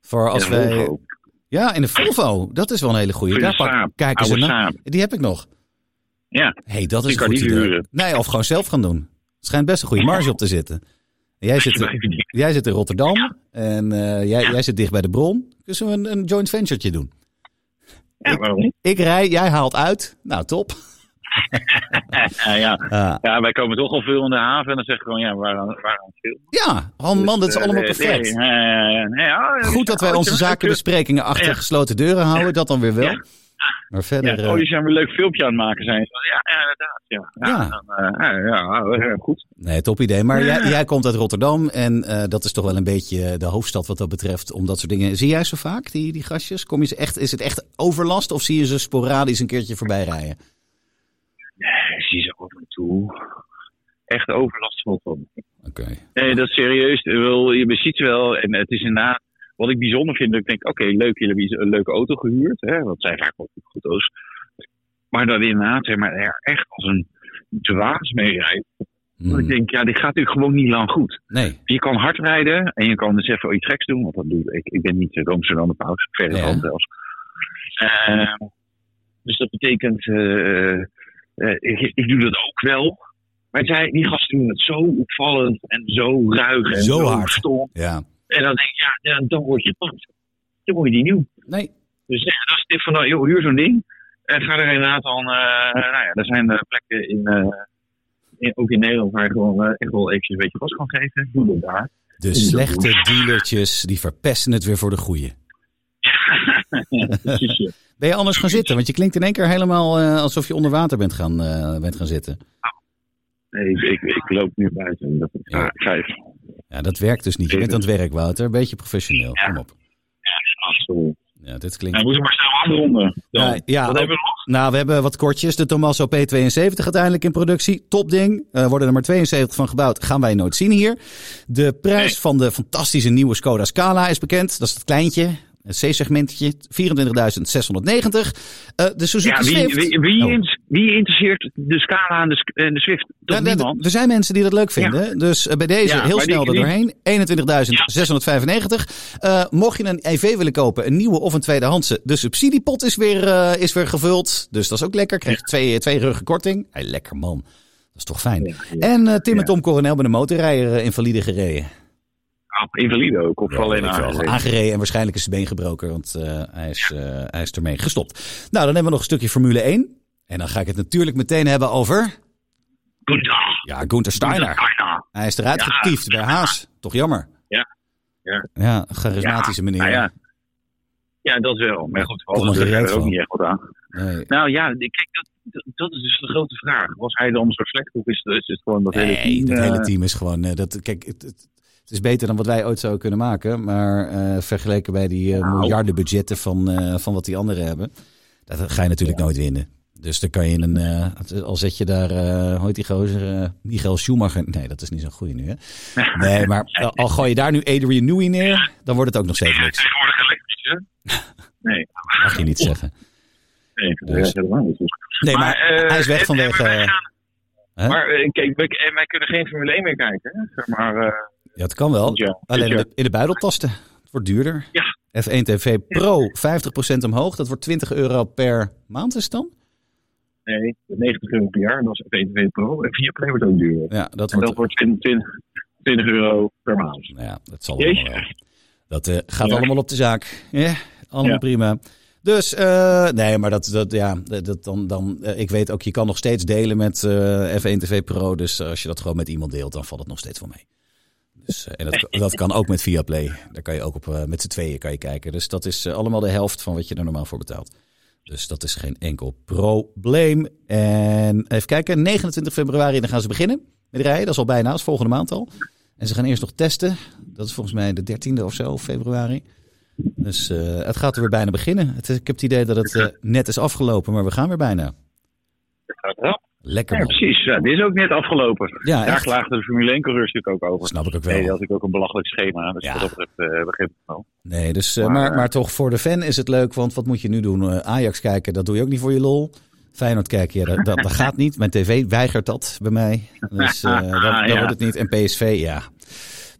Speaker 1: Voor als
Speaker 2: Ja, dat
Speaker 1: wij,
Speaker 2: ook.
Speaker 1: Ja, in de Volvo. Dat is wel een hele goede.
Speaker 2: Voor
Speaker 1: Daar
Speaker 2: de
Speaker 1: pak-
Speaker 2: Saab.
Speaker 1: kijken ze
Speaker 2: Oude
Speaker 1: naar.
Speaker 2: Saab.
Speaker 1: Die heb ik nog.
Speaker 2: Ja.
Speaker 1: hey, dat is
Speaker 2: Die
Speaker 1: een
Speaker 2: kan
Speaker 1: goed
Speaker 2: niet
Speaker 1: idee.
Speaker 2: huren.
Speaker 1: Nee, of gewoon zelf gaan doen. Het schijnt best een goede marge op te zitten. En Jij
Speaker 2: dus
Speaker 1: zit, jij zit in Rotterdam en eh, jij, jij zit dicht bij de bron. Dus we een, een joint venturetje doen.
Speaker 2: Ja, waarom niet?
Speaker 1: Ik rij, jij haalt uit. Nou, top.
Speaker 2: Ja, ja.
Speaker 1: Ah,
Speaker 2: ja, wij komen toch al veel in de haven en dan zeggen we gewoon, ja, waarom, waarom veel?
Speaker 1: ja, oh man, dat is allemaal perfect.
Speaker 2: Eh, Nee, ja, ja, ja.
Speaker 1: Goed dat wij onze zakenbesprekingen achter
Speaker 2: Ja.
Speaker 1: gesloten deuren houden. Dat dan weer wel.
Speaker 2: Ja.
Speaker 1: Maar
Speaker 2: Ja,
Speaker 1: verder... eh,
Speaker 2: oh, die zijn weer een leuk filmpje aan het maken zijn. Ja, ja inderdaad. Ja,
Speaker 1: Ja.
Speaker 2: ja. dan, eh, ja, ja, ja, goed.
Speaker 1: Nee, top idee. Maar
Speaker 2: Ja.
Speaker 1: jij, jij komt uit Rotterdam en eh, dat is toch wel een beetje de hoofdstad wat dat betreft. Om dat soort dingen. Zie jij ze vaak, die, die gastjes? Kom je ze echt, is het echt overlast of zie je ze sporadisch een keertje voorbij rijden?
Speaker 2: Ik Eh, zie ze af en toe. Echt overlast van komen.
Speaker 1: Oké.
Speaker 2: Nee, dat is serieus. Ik bedoel, Je ziet wel, en het is inderdaad wat ik bijzonder vind. Dat ik denk, oké, leuk, jullie hebben iets- een leuke auto gehuurd. Hè, want het zijn vaak wel goed auto's. Maar dat inderdaad, zeg maar, er echt als een dwaas mee rijdt. Want
Speaker 1: Hmm,
Speaker 2: Ik denk, ja, dit gaat natuurlijk gewoon niet lang goed.
Speaker 1: Nee.
Speaker 2: Je kan hard rijden en je kan dus even iets geks doen. Want dat doe ik. Ik ben niet eh, roomser dan de paus. Verder
Speaker 1: Ja.
Speaker 2: dan zelfs. Eh, dus dat betekent, eh, eh, ik, ik doe dat ook wel. Maar zij, die gasten doen het zo opvallend en zo ruig en
Speaker 1: Zo
Speaker 2: zo,
Speaker 1: hard.
Speaker 2: stom.
Speaker 1: Ja.
Speaker 2: En dan denk ik, ja, ja, dan word je pand. Dan word je die nieuw.
Speaker 1: Nee.
Speaker 2: Dus ja, dat is dit van, nou, joh, huur zo'n ding. En ga er inderdaad dan, eh, nou ja, er zijn eh, plekken in, eh, in- ook in Nederland waar je gewoon eh, echt wel eventjes een beetje gas kan geven. Doe dat daar.
Speaker 1: De slechte dealertjes, die verpesten het weer voor de goeie.
Speaker 2: Ja, precies. ja.
Speaker 1: Ben je anders gaan zitten? Want je klinkt in één keer helemaal eh, alsof je onder water bent gaan, eh, bent gaan zitten.
Speaker 2: Nee, ik, ik, ik loop nu buiten. Dat ik,
Speaker 1: Ja.
Speaker 2: ah, ik ga even.
Speaker 1: Ja, dat werkt dus niet. Je bent aan het werk, Wouter. Beetje professioneel. Kom op.
Speaker 2: Ah, sorry.
Speaker 1: Ja, dit
Speaker 2: Nou,
Speaker 1: klinkt...
Speaker 2: moeten we maar snel afronden. Dan.
Speaker 1: Ja, ja,
Speaker 2: Wat
Speaker 1: ook-
Speaker 2: hebben we nog?
Speaker 1: Nou, we hebben wat kortjes. De Tommaso P72 uiteindelijk in productie. Topding. Eh worden er maar 72 van gebouwd. Gaan wij nooit zien hier. De prijs
Speaker 2: Nee.
Speaker 1: van de fantastische nieuwe Skoda Scala is bekend. Dat is het kleintje. Het C-segmentje. 24.690. Eh, de
Speaker 2: Ja,
Speaker 1: Suzuki
Speaker 2: wie,
Speaker 1: Swift.
Speaker 2: wie, wie,
Speaker 1: Oh.
Speaker 2: in- wie interesseert de Scala en de, Sk- en de Swift? Toch
Speaker 1: Ja, dat-
Speaker 2: niemand?
Speaker 1: er zijn mensen die dat leuk vinden. Dus eh, bij deze
Speaker 2: Ja,
Speaker 1: heel
Speaker 2: maar die-
Speaker 1: snel er
Speaker 2: die-
Speaker 1: doorheen. 21.695. Eh, mocht je een EV willen kopen, een nieuwe of een tweedehandse. De subsidiepot is weer, eh, is weer gevuld. Dus dat is ook lekker. Krijg je twee, eh, twee ruggen korting. Hey, lekker man. Dat is toch fijn. En eh, Tim en
Speaker 2: Ja.
Speaker 1: Tom Coronel met een motorrijder eh, invalide gereden.
Speaker 2: Ah, invalide ook, of alleen
Speaker 1: weet ik wel.
Speaker 2: aan.
Speaker 1: Aangereden en waarschijnlijk is zijn been gebroken, want eh, hij, is, eh, hij is ermee gestopt. Nou, dan hebben we nog een stukje Formule 1. En dan ga ik het natuurlijk meteen hebben over...
Speaker 2: Goedendag.
Speaker 1: Ja, Gunther Steiner.
Speaker 2: Steiner.
Speaker 1: Hij is eruit
Speaker 2: Ah, Ja.
Speaker 1: getiefd bij Haas. Toch jammer.
Speaker 2: Ja. Ja.
Speaker 1: Ja, charismatische meneer.
Speaker 2: Nou ja. ja, dat wel. Maar goed,
Speaker 1: Kom er
Speaker 2: we
Speaker 1: gereed
Speaker 2: hebben er ook
Speaker 1: van.
Speaker 2: niet echt wat aan.
Speaker 1: Nee.
Speaker 2: Nou ja, ik- kijk, dat, dat, dat is dus de grote vraag. Was hij dan zo slecht of is, is het gewoon dat hele
Speaker 1: Nee,
Speaker 2: team?
Speaker 1: dat
Speaker 2: eh,
Speaker 1: hele team is gewoon... eh, dat, kijk, het, het, het is beter dan wat wij ooit zouden kunnen maken. Maar eh, vergeleken bij die eh,
Speaker 2: Nou.
Speaker 1: miljarden budgetten van, eh, van wat die anderen hebben... Dat ga je natuurlijk nooit winnen. Dus dan kan je in een... eh, al zet je daar... eh hoe heet die gozer? eh, Michael Schumacher... Nee, dat is niet zo'n goeie nu, hè? Nee, maar eh, al gooi je daar nu Adrian Newey neer... dan wordt het ook nog steeds niks.
Speaker 2: Tegenwoordig elektrisch, hè? Nee,
Speaker 1: Mag je niet zeggen.
Speaker 2: nee, dat
Speaker 1: Dus.
Speaker 2: is helemaal niet.
Speaker 1: Nee, maar,
Speaker 2: eh,
Speaker 1: hij is weg vanwege... eh,
Speaker 2: wij gaan-
Speaker 1: Hè?
Speaker 2: Maar eh, kijk, we, en wij kunnen geen Formule 1 meer kijken. hè, Zeg maar, eh,
Speaker 1: Ja, het kan wel.
Speaker 2: Ja,
Speaker 1: Alleen in
Speaker 2: ja.
Speaker 1: de, in de buidel tasten. Het wordt duurder.
Speaker 2: Ja.
Speaker 1: F1 TV Pro 50% omhoog. Dat wordt 20 euro per maand is het dan?
Speaker 2: nee, 90 euro per jaar, dat is VTV Pro. En 4 Play wordt ook duur.
Speaker 1: Ja, dat
Speaker 2: En
Speaker 1: wordt...
Speaker 2: dat wordt 20, 20 euro per maand.
Speaker 1: Nou ja, dat zal
Speaker 2: Jeetje.
Speaker 1: allemaal wel. Dat eh, gaat
Speaker 2: Ja.
Speaker 1: allemaal op de zaak. Ja, allemaal
Speaker 2: Ja.
Speaker 1: prima. Dus, eh, nee, maar dat, dat ja, dat, dat dan, dan, eh, ik weet ook, je kan nog steeds delen met eh, F1 TV Pro. Dus als je dat gewoon met iemand deelt, dan valt het nog steeds wel mee. Dus, eh, en dat, dat kan ook met Viaplay. Daar kan je ook op, eh, met z'n tweeën kan je kijken. Dus dat is eh, allemaal de helft van wat je er normaal voor betaalt. Dus dat is geen enkel probleem. En even kijken, 29 februari, dan gaan ze beginnen met rijden. Dat is al bijna, dat is volgende maand al. En ze gaan eerst nog testen. Dat is volgens mij de 13e of zo, februari. Dus eh, het gaat er weer bijna beginnen. Het is- ik heb het idee dat het eh, net is afgelopen, maar we gaan weer bijna.
Speaker 2: Dat gaat rap.
Speaker 1: Lekker
Speaker 2: Ja,
Speaker 1: man.
Speaker 2: precies. Ja, dit is ook net afgelopen.
Speaker 1: Ja,
Speaker 2: Daar
Speaker 1: echt.
Speaker 2: klaagden de Formule 1-coureurs natuurlijk ook
Speaker 1: Dat
Speaker 2: over.
Speaker 1: snap ik ook
Speaker 2: Nee, dat
Speaker 1: wel.
Speaker 2: had ik ook een belachelijk schema. Dus
Speaker 1: Ja.
Speaker 2: wat dat betreft eh, begrijp ik wel.
Speaker 1: Nee, dus, eh,
Speaker 2: Maar-
Speaker 1: maar, maar toch voor de fan is het leuk, want wat moet je nu doen? Eh, Ajax kijken, dat doe je ook niet voor je lol. Feyenoord kijken, ja, dat, dat, dat gaat niet. Mijn tv weigert dat bij mij. Dus eh dat, dat
Speaker 2: Ja.
Speaker 1: wordt het niet. En PSV, ja.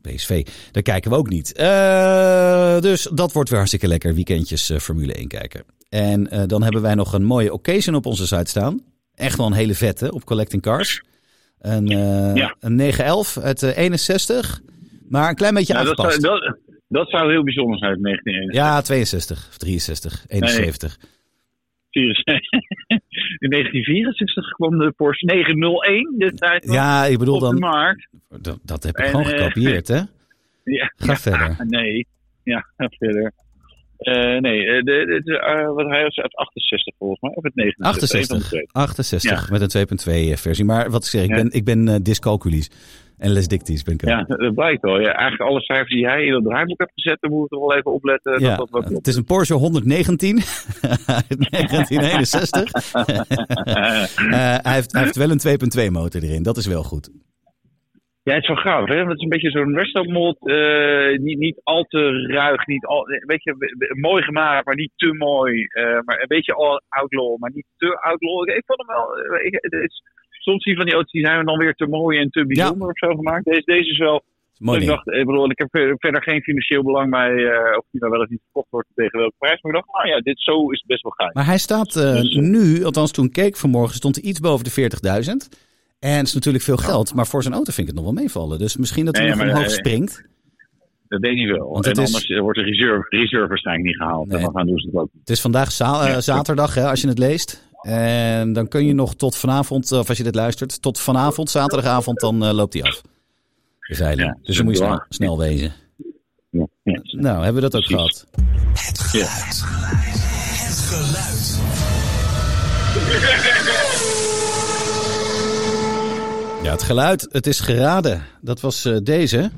Speaker 1: PSV, daar kijken we ook niet. Eh, dus dat wordt weer hartstikke lekker. Weekendjes eh, Formule 1 kijken. En eh, dan hebben wij nog een mooie occasion op onze site staan. Echt wel een hele vette op Collecting Cars. Een, eh
Speaker 2: Ja.
Speaker 1: een 911 uit eh, 61. Maar een klein beetje
Speaker 2: Nou, dat,
Speaker 1: aangepast.
Speaker 2: zou, dat, dat zou heel bijzonder zijn, 1961.
Speaker 1: Ja, 62 of 63, 71.
Speaker 2: In 1964 kwam de Porsche 901 de tijd nog
Speaker 1: ja, ik bedoel
Speaker 2: op de
Speaker 1: dan,
Speaker 2: markt.
Speaker 1: dat, dat heb ik
Speaker 2: En,
Speaker 1: gewoon
Speaker 2: eh,
Speaker 1: gekopieerd, hè?
Speaker 2: Ja.
Speaker 1: Ga verder.
Speaker 2: Ah, nee, ja, ga verder. Eh, nee, eh, de, de- de, eh, wat hij was uit 68 volgens mij, of het 69. Een van de
Speaker 1: 68,
Speaker 2: twee.
Speaker 1: 68 met een 2.2 versie. Maar wat ik zeg, ik ben, ik ben eh, dyscalculies en lesdicties ben ik ook.
Speaker 2: Ja, dat blijkt wel. Ja, eigenlijk alle cijfers die hij in dat draaiboek hebt gezet, daar moeten we wel even opletten.
Speaker 1: Ja,
Speaker 2: dat dat wel klopt.
Speaker 1: het is een Porsche 119 uit 1961.
Speaker 2: Eh,
Speaker 1: Eh, hij, heeft, hij heeft wel een 2.2 motor erin, dat is wel goed.
Speaker 2: Ja, het is wel grappig, hè? Want het is een beetje zo'n resto-mod. eh, niet, niet al te ruig, niet al, eh, een beetje be- be- mooi gemaakt, maar niet te mooi. eh, maar een beetje al outlaw, maar niet te outlaw. Ik, ik vond hem wel... eh, ik- het is- soms zie je van die auto's, die zijn dan weer te mooi en te bijzonder of zo gemaakt. Deze, deze is wel...
Speaker 1: Mooi
Speaker 2: ik
Speaker 1: ding.
Speaker 2: dacht, ik bedoel, ik heb ver- verder geen financieel belang bij eh, of die nou wel of niet verkocht wordt tegen welke prijs. Maar ik dacht, nou ja, dit zo is best wel gaaf.
Speaker 1: Maar hij staat eh,
Speaker 2: Dus, eh,
Speaker 1: nu, althans toen ik keek vanmorgen, stond hij iets boven de 40.000. En het is natuurlijk veel geld, maar voor zijn auto vind ik het nog wel meevallen. Dus misschien dat hij
Speaker 2: Nee,
Speaker 1: nog
Speaker 2: maar,
Speaker 1: omhoog
Speaker 2: eh,
Speaker 1: springt.
Speaker 2: Dat denk ik wel.
Speaker 1: Want
Speaker 2: en
Speaker 1: het is-
Speaker 2: anders eh, wordt de reserve, reserve waarschijnlijk niet gehaald.
Speaker 1: Nee.
Speaker 2: En dan gaan doen ze het ook niet.
Speaker 1: Het is vandaag za- eh,
Speaker 2: Ja.
Speaker 1: zaterdag, hè, als je het leest. En dan kun je nog tot vanavond, eh, of als je dit luistert, tot vanavond, zaterdagavond, dan eh, loopt hij af. De veiling.
Speaker 2: Ja,
Speaker 1: dus dan moet je snel,
Speaker 2: ja.
Speaker 1: snel wezen.
Speaker 2: Ja. Ja.
Speaker 1: Nou, hebben we dat ook
Speaker 2: Precies.
Speaker 1: gehad.
Speaker 3: Het geluid. Het geluid.
Speaker 1: Ja, het geluid, het is geraden. Dat was eh, deze.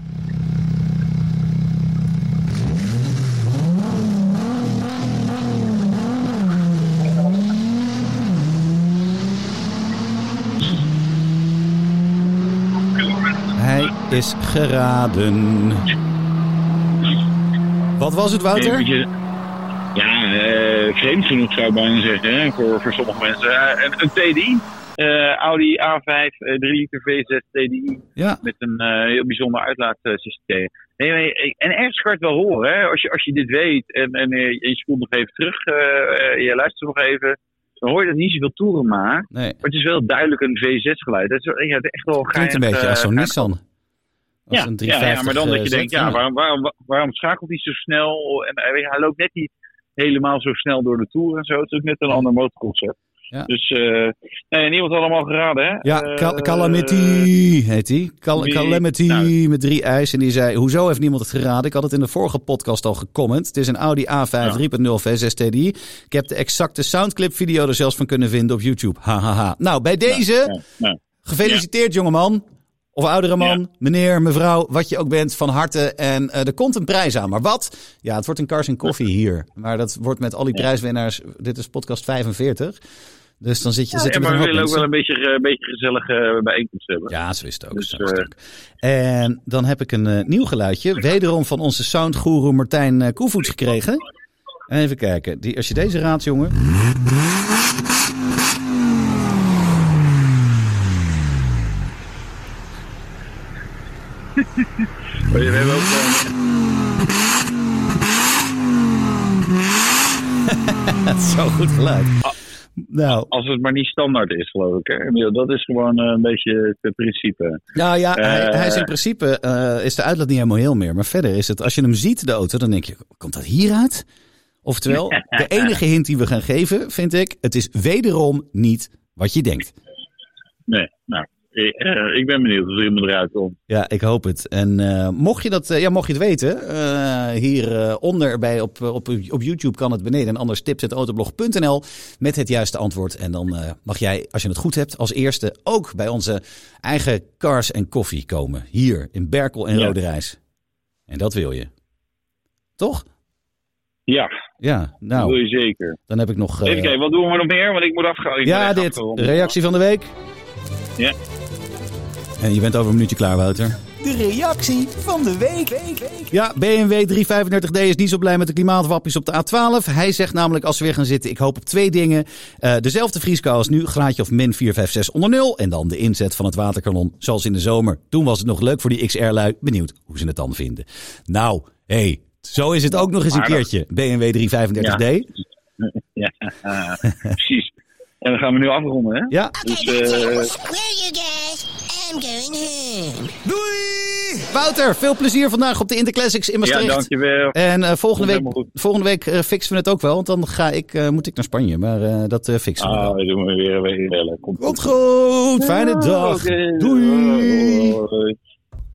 Speaker 1: Hij is geraden. Wat was het, Wouter?
Speaker 2: Eventjes- Ja, eh, vreemd genoeg zou ik bijna zeggen hè, voor, voor sommige mensen. Eh, een, een TDI, eh, Audi A5 eh, 3 liter V6 TDI
Speaker 1: Ja,
Speaker 2: met een eh, heel bijzonder uitlaatsysteem. Nee, nee, ik- en ergens kan je het wel horen, hè, als, je, als je dit weet en, en eh, je spoelt nog even terug, eh, eh, je luistert nog even, dan hoor je dat niet zoveel toeren maakt.
Speaker 1: nee.
Speaker 2: Maar het is wel duidelijk een V6 geluid. Dat is, wel- ja, het is echt wel
Speaker 1: Klinkt een
Speaker 2: geinig,
Speaker 1: beetje als zo'n
Speaker 2: eh,
Speaker 1: Nissan. Als een
Speaker 2: ja, ja,
Speaker 1: 350
Speaker 2: maar dan dat je
Speaker 1: eh,
Speaker 2: denkt,
Speaker 1: zet,
Speaker 2: ja, waarom, waarom, waarom schakelt hij zo snel? En eh, weet je, hij loopt net niet helemaal zo snel door de tour en zo. Het is ook net een ander motorconcept.
Speaker 1: Ja.
Speaker 2: Dus eh nee, niemand had allemaal geraden, hè?
Speaker 1: Ja, Cal-
Speaker 2: Eh,
Speaker 1: Calamity heet hij. Cal-
Speaker 2: wie-
Speaker 1: Calamity
Speaker 2: nou.
Speaker 1: met drie ijs. En die zei, hoezo heeft niemand het geraden? Ik had het in de vorige podcast al gecomment. Het is een Audi A5
Speaker 2: Ja.
Speaker 1: 3.0 V6 TDI. Ik heb de exacte soundclip video er zelfs van kunnen vinden op YouTube. Hahaha. Nou, bij deze,
Speaker 2: ja, ja.
Speaker 1: gefeliciteerd jongeman. Of oudere man, meneer, mevrouw, wat je ook bent, van harte. En eh, er komt een prijs aan. Maar wat? Ja, het wordt een Cars en Coffee hier. Maar dat wordt met al die prijswinnaars... Dit is podcast 45. Dus dan zit je...
Speaker 2: Ja,
Speaker 1: zitten
Speaker 2: maar
Speaker 1: met
Speaker 2: we
Speaker 1: een hoop
Speaker 2: willen ook
Speaker 1: mensen.
Speaker 2: wel een beetje, eh, een beetje gezellige eh, bijeenkomst hebben.
Speaker 1: Ja, zo is het ook.
Speaker 2: Dus,
Speaker 1: zo is het
Speaker 2: eh,
Speaker 1: ook. En dan heb ik een eh, nieuw geluidje. Wederom van onze soundgoeroe Martijn eh, Koevoets gekregen. Even kijken. Die, als je deze raadt, jongen.
Speaker 2: eh,
Speaker 1: dat is zo goed geluid. Nou,
Speaker 2: Als het maar niet standaard is, geloof ik. Hè? Ik bedoel, Dat is gewoon eh, een beetje het principe.
Speaker 1: nou ja, hij,
Speaker 2: Eh.
Speaker 1: hij is in principe eh, is de uitlaat niet helemaal heel meer. Maar verder is het, als je hem ziet, de auto, dan denk je, komt dat hieruit? Oftewel, de enige hint die we gaan geven, vind ik, het is wederom niet wat je denkt.
Speaker 2: Nee, nou, ik, eh, ik ben benieuwd of iemand eruit komt.
Speaker 1: Ja, ik hoop het. En eh, mocht, je dat, eh, ja, mocht je het weten, eh, hieronder bij op, eh, op, op YouTube kan het beneden. En anders tips.autoblog.nl met het juiste antwoord. En dan eh, mag jij, als je het goed hebt, als eerste ook bij onze eigen Cars en Koffie komen. Hier in Berkel en
Speaker 2: Ja.
Speaker 1: Rode Reis. En dat wil je. Toch?
Speaker 2: Ja,
Speaker 1: Ja,
Speaker 2: dat wil
Speaker 1: nou,
Speaker 2: je zeker.
Speaker 1: dan heb ik nog... eh,
Speaker 2: Even kijken, wat doen we nog meer? Want ik moet afgaan. Ik
Speaker 1: ja,
Speaker 2: moet echt
Speaker 1: dit.
Speaker 2: afronden.
Speaker 1: Reactie van de week.
Speaker 2: Ja.
Speaker 1: En je bent over een minuutje klaar, Wouter.
Speaker 3: De reactie van de week. week, week.
Speaker 1: Ja, BMW 335D is niet zo blij met de klimaatwappies op de A12. Hij zegt namelijk als we weer gaan zitten, ik hoop op twee dingen. Eh, dezelfde vrieskou als nu, graadje of min 456 onder nul. En dan de inzet van het waterkanon, zoals in de zomer. Toen was het nog leuk voor die XR-lui. Benieuwd hoe ze het dan vinden. Nou, hé, hey, zo is het ook nog eens een
Speaker 2: Aardig.
Speaker 1: keertje, BMW 335D.
Speaker 2: Ja, haha, precies. En dan gaan we nu afronden, hè?
Speaker 1: Ja,
Speaker 2: Dus,
Speaker 4: Okay, that's
Speaker 2: eh,
Speaker 4: it. Well, you guys, I'm going home.
Speaker 3: Doei!
Speaker 1: Wouter, veel plezier vandaag op de Interclassics in
Speaker 2: ja,
Speaker 1: Maastricht.
Speaker 2: dankjewel.
Speaker 1: En eh, volgende,
Speaker 2: Komt
Speaker 1: week,
Speaker 2: helemaal
Speaker 1: volgende week eh, fixen we het ook wel, want dan ga ik, eh, moet ik naar Spanje. Maar eh, dat eh, fixen we
Speaker 2: Ah,
Speaker 1: wel.
Speaker 2: we doen weer weer bellen. Komt
Speaker 1: Komt goed, fijne dag.
Speaker 2: Oké,
Speaker 1: Doei.
Speaker 2: doei.